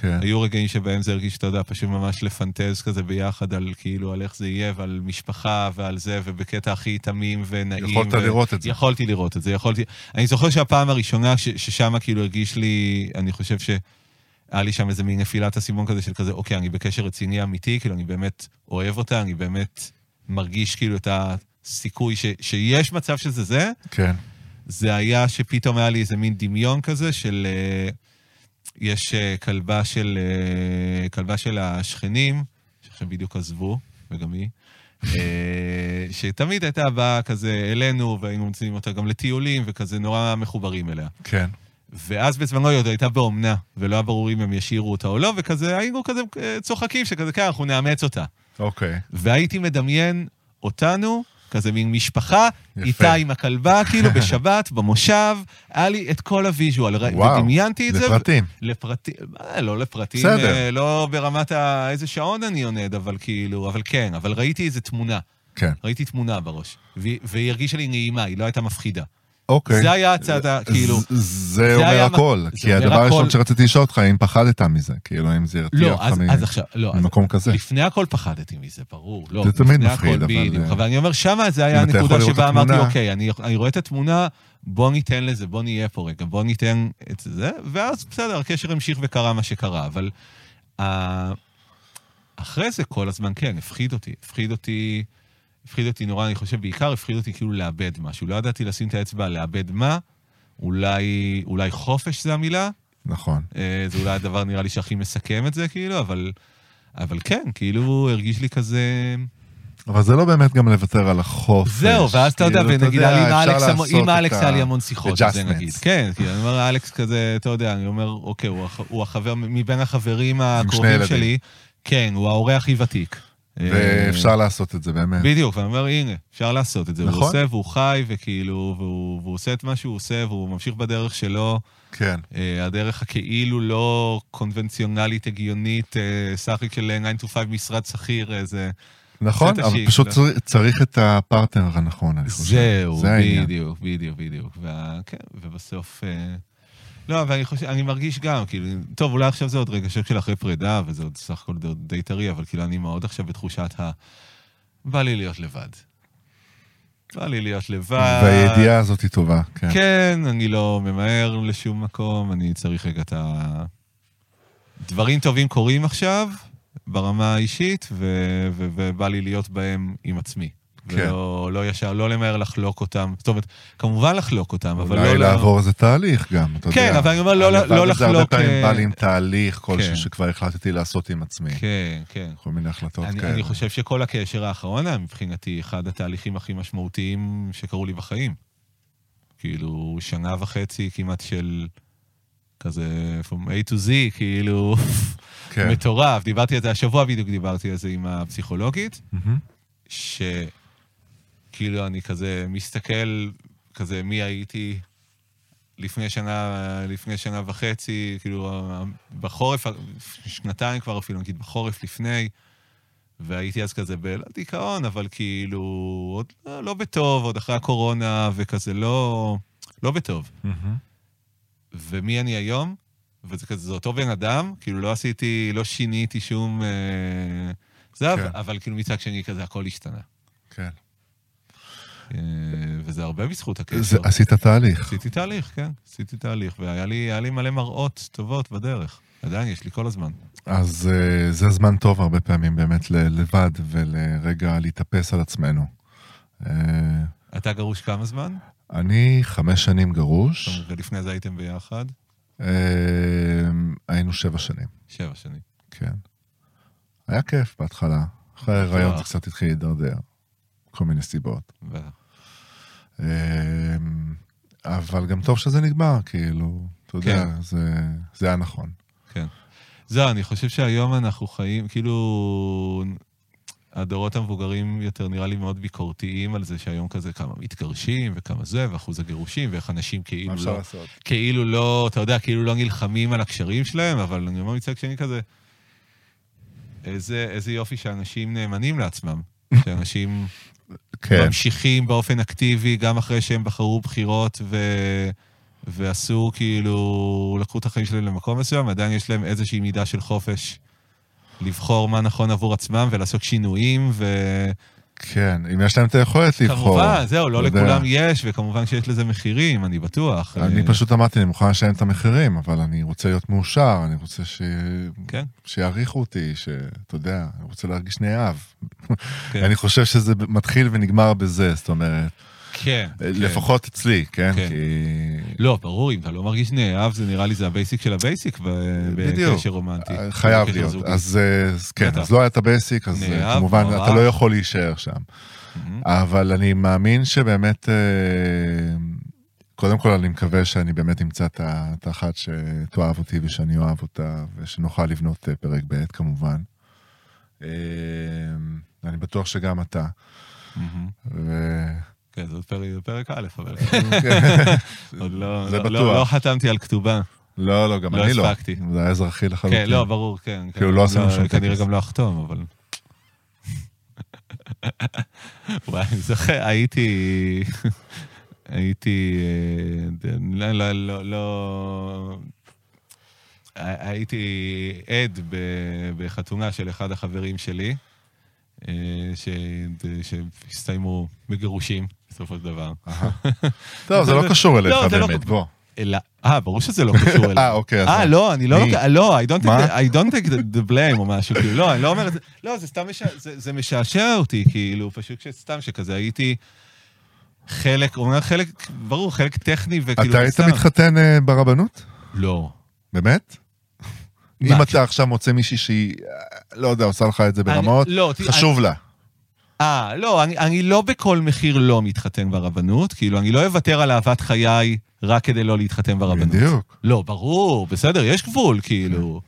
כן. היו רגעים שבהם זה הרגיש, אתה יודע, פשוט ממש לפנטז כזה ביחד על כאילו, על איך זה יהיה ועל משפחה ועל זה, ובקטע הכי תמים ונעים. יכולת ו- לראות את זה. יכולתי לראות את זה, יכולתי... אני זוכר שהפעם הראשונה ש- ששם כאילו הרגיש לי, אני חושב ש... היה לי שם איזה מין נפילת אסימון כזה של כזה, אוקיי, אני בקשר רציני אמיתי, כאילו, אני באמת אוהב אותה, אני באמת מרגיש כאילו את הסיכוי ש, שיש מצב שזה זה, כן. זה היה שפתאום היה לי איזה מין דמיון כזה של... אה, יש אה, כלבה של, אה, כלבה של השכנים, שעכשיו בדיוק עזבו, וגם היא, אה, שתמיד הייתה באה כזה אלינו, והיינו מוצאים אותה גם לטיולים, וכזה נורא מחוברים אליה. כן. ואז בזמנו היא עוד הייתה באומנה, ולא היה ברור אם הם ישאירו אותה או לא, וכזה היינו כזה אה, צוחקים, שכזה, כן, אנחנו נאמץ אותה. אוקיי. והייתי מדמיין אותנו, כזה מין משפחה, יפה. איתה עם הכלבה, כאילו בשבת, במושב, היה לי את כל הוויז'ואל, ר- וואו, ודמיינתי את זה. לפרטים. לפרטים, אה, לא לפרטים, בסדר. אה, לא ברמת ה... איזה שעון אני עונד, אבל כאילו, אבל כן, אבל ראיתי איזה תמונה, כן. ראיתי תמונה בראש, והיא- והיא הרגישה לי נעימה, היא לא הייתה מפחידה. אוקיי. זה היה הצד, ה- כאילו... ז- זה היה אומר מה- הכל, זה כי אומר הדבר הראשון הכל. שרציתי לשאול אותך, אם פחדת מזה, כאילו, אם זה ירתיע לא, אותך אז, מ- אז עכשיו, לא, אז ממקום כזה. לפני הכל פחדתי מזה, ברור. לא, זה תמיד לפני מפחיד, הכל, אבל, בדיוק. אה, אבל אני אומר, שמה זה היה אם אתה יכול הנקודה לראות את שבה אמרתי, התמונה- אוקיי, אני, אני רואה את התמונה, בוא ניתן לזה, בוא נהיה פה רגע, בוא ניתן את זה, ואז בסדר, הקשר המשיך וקרה מה שקרה, אבל... אה, אחרי זה כל הזמן, כן, הפחיד אותי. הפחיד אותי, הפחיד אותי נורא, אני חושב, בעיקר הפחיד אותי כאילו לאבד משהו. לא ידעתי לשים את האצבע על לאבד מה, אולי, אולי חופש זה המילה, נכון. אה, זה אולי הדבר נראה לי שהכי מסכם את זה, כאילו, אבל, אבל כן, כאילו, הרגיש לי כזה... אבל זה לא באמת גם לוותר על החופש. זהו, ואז אתה יודע, כאילו, ונגיד, יודע, היה לי עם אפשר אלכס, המון- לעשות עם את אלכס ה- היה לי המון שיחות, זה adjustments. נגיד. כן, כאילו, אני אומר, אלכס כזה, אתה יודע, אני אומר, אוקיי, הוא הח- הוא החבר, מבין החברים הקרובים ילדים. שלי, כן, הוא ההורה הכי ותיק. אה, ואפשר לעשות את זה באמת. בדיוק, ואני אומר, הנה, אפשר לעשות את זה. הוא נכון. עושה והוא חי, וכאילו, והוא והוא עושה את מה שהוא עושה, והוא ממשיך בדרך שלו. כן. אה, הדרך הכאילו לא קונבנציונלית, הגיונית, אה, סחי של 9 to 5 משרד שכיר, אה, זה... נכון, קצת אבל השיק, פשוט לא. צריך- צריך את הפרטנר הנכון, אני חושב. זהו, זה העניין. בדיוק, בדיוק, בדיוק. וה- כן, ובסוף... אה, לא, אבל אני חושב, אני מרגיש גם, כאילו, טוב, אולי עכשיו זה עוד רגשות של כאילו אחרי פרידה, וזה עוד סך הכל די- די טרי, אבל כאילו, אני מאוד עכשיו בתחושת ה... בא לי להיות לבד. בא לי להיות לבד. והידיעה הזאת היא טובה, כן. כן, אני לא ממהר לשום מקום, אני צריך רגע את ה... דברים טובים קורים עכשיו, ברמה האישית, ו... ו... ובא לי להיות בהם עם עצמי. כן. ולא לא ישר, לא למהר לחלוק אותם. זאת אומרת, כמובן לחלוק אותם, אבל לא... אולי לא- לעבור איזה תהליך גם, אתה יודע. כן, אבל אני אומר, לא- הלבד לא הזה הרבה לחלוק, פעמים אה, בא לי עם תהליך כן. כלשהו שכבר החלטתי לעשות עם עצמי. כן, כן. כל מיני החלטות אני, כאלה. אני חושב שכל הקשר האחרון היה מבחינתי אחד התהליכים הכי משמעותיים שקרו לי בחיים. כאילו, שנה וחצי כמעט של כזה from A to Z, כאילו, כן. מטורף. דיברתי על זה השבוע בדיוק, דיברתי על זה עם הפסיכולוגית, מהמם. שהיא כאילו אני כזה מסתכל, כזה מי הייתי לפני שנה, לפני שנה וחצי, כאילו בחורף, שנתיים כבר אפילו, נגיד בחורף לפני, והייתי אז כזה בדיכאון, אבל כאילו עוד לא- לא בטוב, עוד אחרי הקורונה, וכזה לא, לא בטוב. ומי אני היום? וזה כזה, זה אותו בן אדם, כאילו לא עשיתי, לא שיניתי שום... אה, זה, כן. אבל- אבל כאילו מצד שני כזה הכל השתנה. כן. אה, וזה הרבה בזכות זה- הקשר. עשית תהליך. עשיתי תהליך, כן, עשיתי תהליך, והיה לי, היה לי מלא מראות טובות בדרך. עדיין יש לי כל הזמן. אז אה, זה זמן טוב הרבה פעמים באמת ל- לבד ולרגע להתאפס על עצמנו. אה, אתה גרוש כמה זמן? אני חמש שנים גרוש, ולפני זה הייתם ביחד? אה, היינו שבע שנים, שבע שנים. כן. היה כיף בהתחלה, אחרי ההיריון זה בטוח. קצת התחיל להידרדר, כל מיני סיבות. בטח. אה, אבל גם טוב שזה נגמר, כאילו, אתה יודע, כן. זה- זה היה נכון. כן. זהו, אני חושב שהיום אנחנו חיים, כאילו, הדורות המבוגרים יותר נראה לי מאוד ביקורתיים על זה שהיום כזה כמה מתגרשים וכמה זה, ואחוז הגירושים, ואיך אנשים מה כאילו אפשר לא, לעשות? כאילו לא, אתה יודע, כאילו לא נלחמים על הקשרים שלהם, אבל אני אומר מצד שני כזה, איזה, איזה יופי שאנשים נאמנים לעצמם. שאנשים כן, ממשיכים באופן אקטיבי גם אחרי שהם בחרו בחירות ו... ועשו כאילו, לקחו את החיים שלהם למקום מסוים, עדיין יש להם איזושהי מידה של חופש לבחור מה נכון עבור עצמם ולעשות שינויים, וכמובן, כן, אם יש להם את היכולת לבחור. זהו, לא אתה יודע. לכולם יש, וכמובן שיש לזה מחירים, אני בטוח. אני אה, פשוט אמרתי, אני מוכן לשלם את המחירים, אבל אני רוצה להיות מאושר, אני רוצה ש... כן. שיעריכו אותי, שאתה יודע, אני רוצה להרגיש נאהב. כן. אני חושב שזה מתחיל ונגמר בזה, זאת אומרת, כן. כן. לפחות אצלי, כן? כן. כי... לא, ברור, אם אתה לא מרגיש נאהב, זה נראה לי זה הבייסיק של הבייסיק ב- בדיוק. אה, בקשר רומנטי. חייב בקשר להיות. זוגי. אז אה, אז כן, בטח. אז לא היה את הבייסיק, אז אה, נאהב, כמובן מאוהב. אתה לא יכול להישאר שם. מהמם. אבל אני מאמין שבאמת, אה, קודם כל אני מקווה שאני באמת אמצא את ה- את האחת שתאהב אותי ושאני אוהב אותה, ושנוכל לבנות אה, פרק ב' כמובן. אה, אני בטוח שגם אתה. מהמם. ו- כן, זה עוד פרק- זה פרק א', אבל... עוד לא, זה לא, בטוח. לא, לא חתמתי על כתובה. לא, לא, גם לא אני לא. הספקתי. זה היה אזרחי לחלוטין. כן, לא, ברור, כן. כן. כאילו, לא עשינו שום כנראה טקס. גם לא אחתום, אבל... וואי, אני זוכר, הייתי... הייתי... אה, לא, לא, לא, לא... הי- הייתי עד ב- בחתונה של אחד החברים שלי, אה, ש- שהסתיימו בגירושים, בסופו של דבר. טוב, זה לא קשור אליך לא, זה לא באמת, קשור. בוא. אלא, אה, ברור שזה לא קשור אליי. אה, אוקיי, אז אה, לא. לא, אני לא מי? לוקח, לא, I don't take מה? the- I don't take the- the blame או משהו, כאילו, לא, אני לא אומר את זה, לא, זה סתם, משע- זה זה משעשע אותי, כאילו, פשוט שסתם שכזה הייתי חלק, הוא אומר חלק, ברור, חלק טכני וכאילו, אתה היית כאילו, סתם. מתחתן אה, ברבנות? לא. באמת? מה? אם אתה עכשיו מוצא מישהי שהיא, אה, לא יודע, עושה לך את זה ברמות, אני- לא, ת- חשוב לה. אה, לא, אני, אני לא בכל מחיר לא מתחתן ברבנות, כאילו, אני לא אוותר על אהבת חיי רק כדי לא להתחתן ברבנות. בדיוק. לא, ברור, בסדר, יש גבול, כאילו.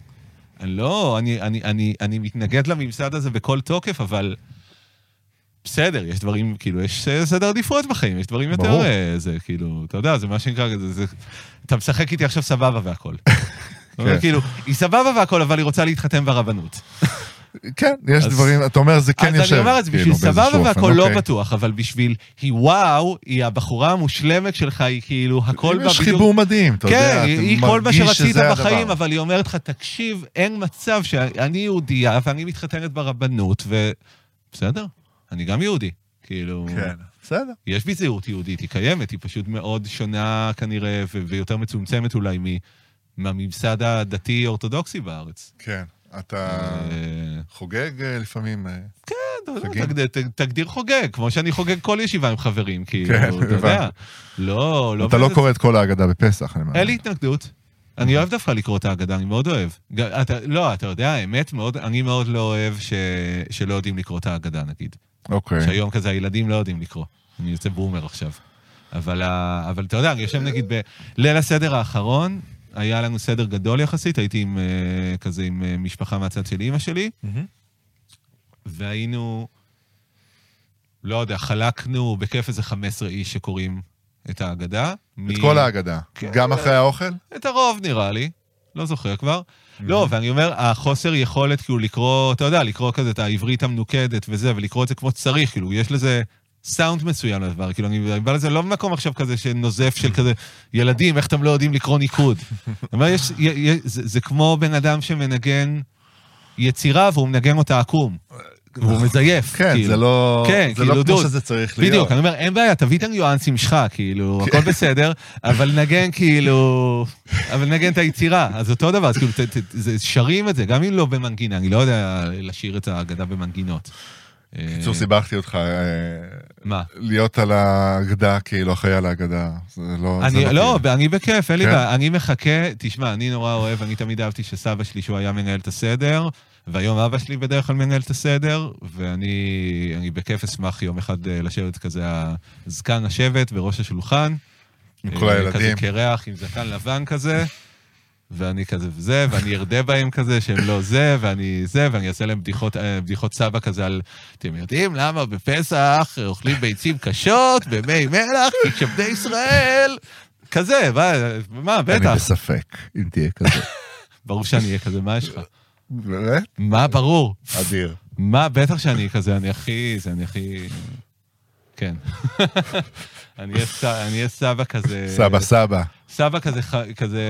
אני לא, אני, אני, אני, אני מתנגד לממסד הזה בכל תוקף, אבל בסדר, יש דברים, כאילו, יש אה, סדר עדיפויות בחיים, יש דברים יותר... ברור. אה, זה, כאילו, אתה יודע, זה מה שנקרא, זה, זה, אתה משחק איתי עכשיו סבבה והכל. אתה אומר, כן. כאילו, היא סבבה והכל, אבל היא רוצה להתחתן ברבנות. כן, יש אז- דברים, אתה אומר, זה כן יושב. אז אני אומר, אז כאילו, בשביל באיזשהו סבבה אופן, והכל לא אוקיי. בטוח, אבל בשביל היא וואו, היא הבחורה המושלמת שלך, היא כאילו, הכל בה יש בדיוק חיבור מדהים, אתה יודע, כן, אתה היא היא כל מה מרגיש שרצית שזה הדבר. בחיים, אבל היא אומרת לך, תקשיב, אין מצב שאני יהודייה ואני מתחתנת ברבנות, ו... בסדר, אני גם יהודי. כאילו, כן, בסדר. יש בי זהות יהודית, היא קיימת, היא פשוט מאוד שונה כנראה, ו- ויותר מצומצמת אולי מ- מהממסד הדתי-אורתודוקסי בארץ. כן, אתה אה, לא חוגג אה, לפעמים. אה, אתה יודע, חגים? תגד- ת- תגדיר חוגג, כמו שאני חוגג כל ישיבה עם חברים, כאילו, אתה כן, הבנתי. יודע. לא, לא... אתה לא באיזה- קורא את כל ההגדה בפסח, אני מאמין. אין לי התנגדות. אני אוהב דווקא לקרוא את ההגדה, אני מאוד אוהב. גם- אתה, לא, אתה יודע, האמת, מאוד, אני מאוד לא אוהב ש, שלא יודעים לקרוא את ההגדה, נגיד. אוקיי. שהיום כזה הילדים לא יודעים לקרוא. אני יוצא בומר עכשיו. אבל, ה- אבל אתה יודע, אני יושב נגיד בליל הסדר האחרון, היה לנו סדר גדול יחסית, הייתי עם, אה, כזה עם אה, משפחה מהצד של אימא שלי, והיינו לא יודע, חלקנו בכיף איזה 15 איש שקוראים את ההגדה. את כל ההגדה. כן. גם אחרי האוכל? את הרוב נראה לי, לא זוכר כבר. לא, ואני אומר, החוסר יכולת כאילו לקרוא, אתה יודע, לקרוא כזה את העברית המנוקדת וזה, ולקרוא את זה כמו שצריך, כאילו, יש לזה סאונד מסוים לדבר, כאילו, אני בא לזה לא במקום עכשיו כזה שנוזף של כזה, ילדים, איך אתם לא יודעים לקרוא ניקוד? אני אומר, יש, י- י- זה זה כמו בן אדם שמנגן יצירה והוא מנגן אותה עקום, והוא מזייף, אה, כן, כאילו. זה לא כן, זה לא כאילו, כמו דוד. שזה צריך להיות. בדיוק, אני אומר, אין בעיה, תביא את הניואנסים שלך, כאילו, הכל בסדר, אבל נגן כאילו, אבל נגן את היצירה, אז אותו דבר, אז כאילו, ת- ת- זה- שרים את זה, גם אם לא במנגינה, אני לא יודע לשיר את ההגדה במנגינות. בקיצור, אה, סיבכתי אותך אה, מה? להיות על ההגדה, כאילו, אחראי על ההגדה. זה לא... זה אני, לא, אני בכיף, אין לי כן? בעיה, אני מחכה, תשמע, אני נורא אוהב, אני תמיד אהבתי שסבא שלי, שהוא היה מנהל את הסדר, והיום אבא שלי בדרך כלל מנהל את הסדר, ואני אני בכיף אשמח יום אחד אה, לשבת כזה, זקן השבט בראש השולחן. עם כל אה, הילדים. כזה קרח עם זקן לבן כזה, ואני כזה וזה, ואני ארדה בהם כזה שהם לא זה, ואני זה, ואני אעשה להם בדיחות, אה, בדיחות סבא כזה על, אתם יודעים למה בפסח אוכלים ביצים קשות במי מלח, כי שבני ישראל... כזה, מה, מה, אני בטח, בספק אם תהיה כזה. ברור שאני אהיה כזה, מה יש לך? באמת? מה, ברור. אדיר. מה, בטח שאני כזה, אני הכי, זה, אני הכי... כן. אני אהיה ס- אני אהיה סבא כזה... סבא, סבא. סבא כזה, ח- כזה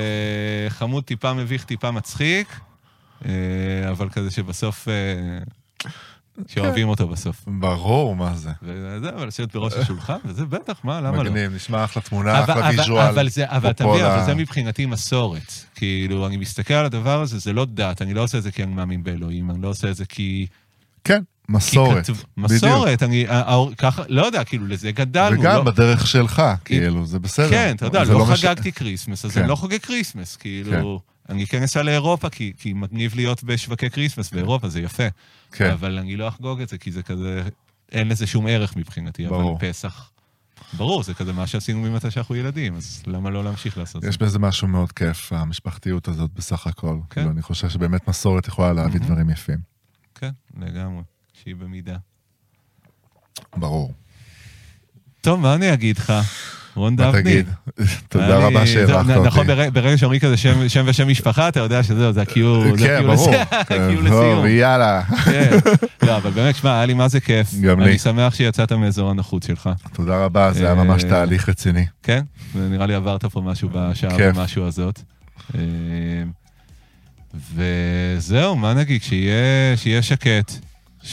חמוד, טיפה מביך, טיפה מצחיק, אה, אבל כזה שבסוף, אה, כן. שאוהבים אותו בסוף. ברור מה זה. וזה, אבל לשבת בראש השולחן, וזה בטח, מה, למה לא? מגניב, נשמע אחלה תמונה, אבל, אחלה אבל, ויז'ואל. אבל זה, אבל אתה פה מבין, ל- אבל זה מבחינתי מסורת. כאילו, אני מסתכל על הדבר הזה, זה לא דת, אני לא עושה את זה כי אני מאמין באלוהים, אני לא עושה את זה כי... כן, כי מסורת. כתוב- בדיוק. מסורת, אני, ה- ה- ככה, לא יודע, כאילו, לזה גדלנו. וגם לא- בדרך שלך, כאילו, זה בסדר. כן, אתה יודע, זה לא מש- חגגתי כריסמס, אז כן. אני לא חוגג כריסמס. כאילו, אני כן אסע לאירופה, כי כי מגניב להיות בשווקי כריסמס באירופה, זה יפה. כן. אבל אני לא אחגוג את זה, כי זה כזה, אין לזה שום ערך מבחינתי, אבל ברור. פסח... ברור, זה כזה מה שעשינו ממתי שאנחנו ילדים, אז למה לא להמשיך לעשות את יש זה? בזה משהו מאוד כיף, המשפחתיות הזאת בסך הכל. כן. Mhm. כאילו, אני חושב שבאמת מסורת יכולה להביא מהמם. דברים יפים. כן, לגמרי, שהיא במידה. ברור. טוב, מה אני אגיד לך? רון מה דבני. תגיד? תודה אני- רבה זה- שהערכת אותי. נכון, ברג- ברגע שאומרים כזה שם- שם ושם משפחה, אתה יודע שזהו, זה הקיו... זה כן, לא, הקיו ברור. לס- הקיו טוב, לסיום. יאללה. כן. לא, אבל באמת, שמע, היה לי מה זה כיף. גם לי. אני שמח שיצאת מאזור הנוחות שלך, תודה רבה, זה היה אה, ממש תהליך רציני. כן? ונראה לי עברת פה משהו בשעה כיף. ומשהו הזאת. אה, וזהו, מה נגיד? שיהיה שיהיה שקט. ש...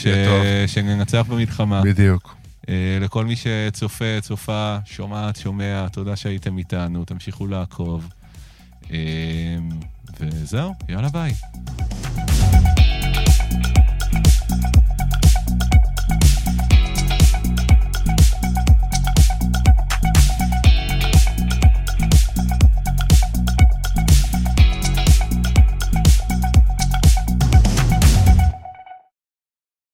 שיהיה טוב. שננצח במלחמה. בדיוק. אה, לכל מי שצופה, צופה, שומעת, שומע, תודה שהייתם איתנו, תמשיכו לעקוב. אה, וזהו, יאללה ביי.